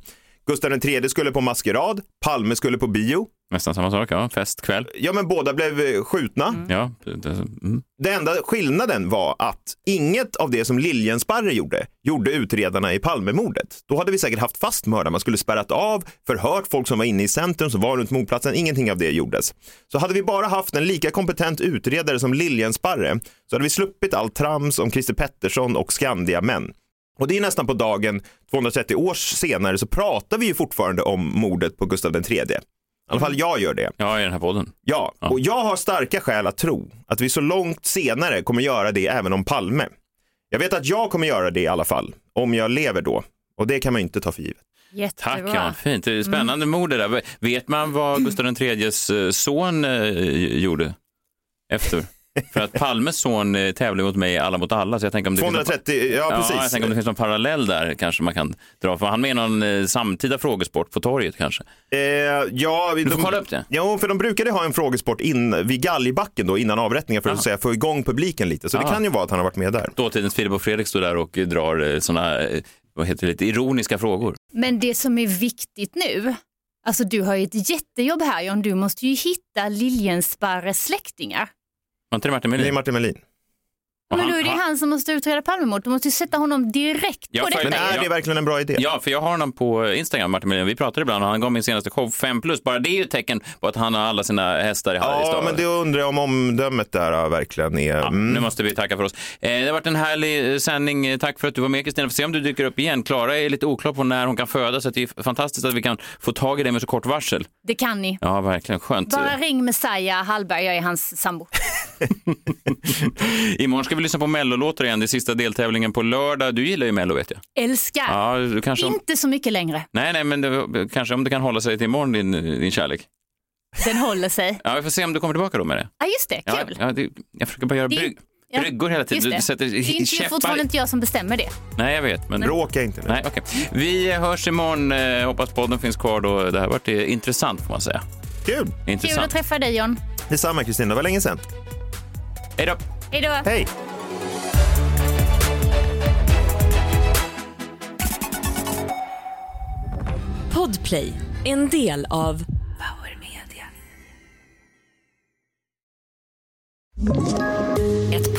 Speaker 3: Gustav III skulle på maskerad, Palme skulle på bio,
Speaker 2: Nästan samma sak, ja. Fest, kväll.
Speaker 3: Ja, men båda blev eh, skjutna.
Speaker 2: Ja, det- det- mm.
Speaker 3: Den enda skillnaden var att inget av det som Liljensparre gjorde, gjorde utredarna i Palmemordet. Då hade vi säkert haft fast mördaren, man skulle spärrat av, förhört folk som var inne i centrum, som var runt mordplatsen, ingenting av det gjordes. Så hade vi bara haft en lika kompetent utredare som Liljensparre, så hade vi sluppit allt trams om Christer Pettersson och Skandia-män. Och det är nästan på dagen 230 år senare så pratar vi ju fortfarande om mordet på Gustav III. I alla fall jag gör det.
Speaker 2: ja, i den här podden.
Speaker 3: Ja,
Speaker 2: Ja.
Speaker 3: och jag har starka skäl att tro att vi så långt senare kommer göra det även om Palme. Jag vet att jag kommer göra det i alla fall, om jag lever då. Och det kan man ju inte ta för givet.
Speaker 2: Tack,
Speaker 4: Jättebra.
Speaker 2: ja. Fint. Det är Spännande mord det där. Vet man vad Gustav IIIs son eh, gjorde efter? För att Palmes son eh, tävlade mot mig i Alla mot alla. Så jag tänker om det finns någon-
Speaker 3: 230, ja
Speaker 2: Ja, jag
Speaker 3: precis.
Speaker 2: tänker om det finns någon parallell där kanske man kan dra. För han med i någon eh, samtida frågesport på torget kanske.
Speaker 3: Eh, ja, vi-
Speaker 2: Du får kolla upp det.
Speaker 3: Jo, för de brukade ha en frågesport in, vid galgbacken då, innan avrättningen för att,
Speaker 2: Ja.
Speaker 3: säga, få igång publiken lite. Så det
Speaker 2: Ja.
Speaker 3: kan ju vara att han har varit med där.
Speaker 2: Dåtidens Filip och Fredrik står där och eh, drar eh, såna, eh, vad heter det, lite ironiska frågor.
Speaker 4: Men det som är viktigt nu, alltså du har ju ett jättejobb här John, du måste ju hitta Liljensparres släktingar.
Speaker 2: Var inte det Martin
Speaker 3: Det är
Speaker 2: Melin?
Speaker 3: Martin Melin.
Speaker 2: Och
Speaker 4: Men
Speaker 2: han-
Speaker 4: då är det
Speaker 2: han-
Speaker 4: han som måste utreda Palmemordet, du måste ju sätta honom direkt
Speaker 2: Ja,
Speaker 4: på
Speaker 2: för-
Speaker 4: detta.
Speaker 3: Men är Äh, det
Speaker 2: Ja.
Speaker 3: verkligen en bra idé?
Speaker 2: Ja, för jag har honom på Instagram, Martin Melin. Vi pratade ibland och han gav min senaste show 5 plus. Bara det är ju ett tecken på att han har alla sina hästar i Harrys
Speaker 3: Ja,
Speaker 2: stavar.
Speaker 3: men det undrar jag om omdömet där ja, verkligen är...
Speaker 2: Ja,
Speaker 3: Mm.
Speaker 2: Nu måste vi tacka för oss. Eh, det har varit en härlig eh, sändning. Eh, Tack för att du var med Kristina. Får se om du dyker upp igen. Klara är lite oklar på när hon kan födas. Så att det är fantastiskt att vi kan få tag i dig med så kort varsel.
Speaker 4: Det kan ni.
Speaker 2: Ja, verkligen. Skönt.
Speaker 4: Bara ring Messiah Hallberg, jag är hans sambo.
Speaker 2: Imorgon ska vi lyssna på Mellolåtar igen. Det är sista deltävlingen på lördag. Du gillar ju Mello vet jag.
Speaker 4: Älskar.
Speaker 2: Ja, du kanske... Om...
Speaker 4: Inte så mycket längre,
Speaker 2: Nej, nej, men det... kanske om du kan hålla sig till imorgon, din, din kärlek.
Speaker 4: den håller sig.
Speaker 2: Ja, vi får se om du kommer tillbaka då med det.
Speaker 4: Ja just det,
Speaker 2: Ja,
Speaker 4: kul.
Speaker 2: ja, det... Jag försöker bara göra
Speaker 4: Det-
Speaker 2: bryg...
Speaker 4: ja,
Speaker 2: bryggor hela
Speaker 4: Just
Speaker 2: tiden. Du,
Speaker 4: det.
Speaker 2: du sätter
Speaker 4: det är inte,
Speaker 2: käppar.
Speaker 4: fortfarande inte jag som bestämmer det.
Speaker 2: Nej, jag vet. Men...
Speaker 3: Bråka inte nu.
Speaker 2: Nej, okej. Vi hörs imorgon. Eh, Hoppas podden finns kvar då. Det här har varit eh, intressant får man säga.
Speaker 3: Kul!
Speaker 4: Kul att
Speaker 2: Intressant.
Speaker 4: träffa dig John.
Speaker 3: Detsamma Kristina, det var länge sedan.
Speaker 2: Hej då!
Speaker 4: Hej då.
Speaker 3: Hej!
Speaker 6: Podplay, en del av Power Media. Ett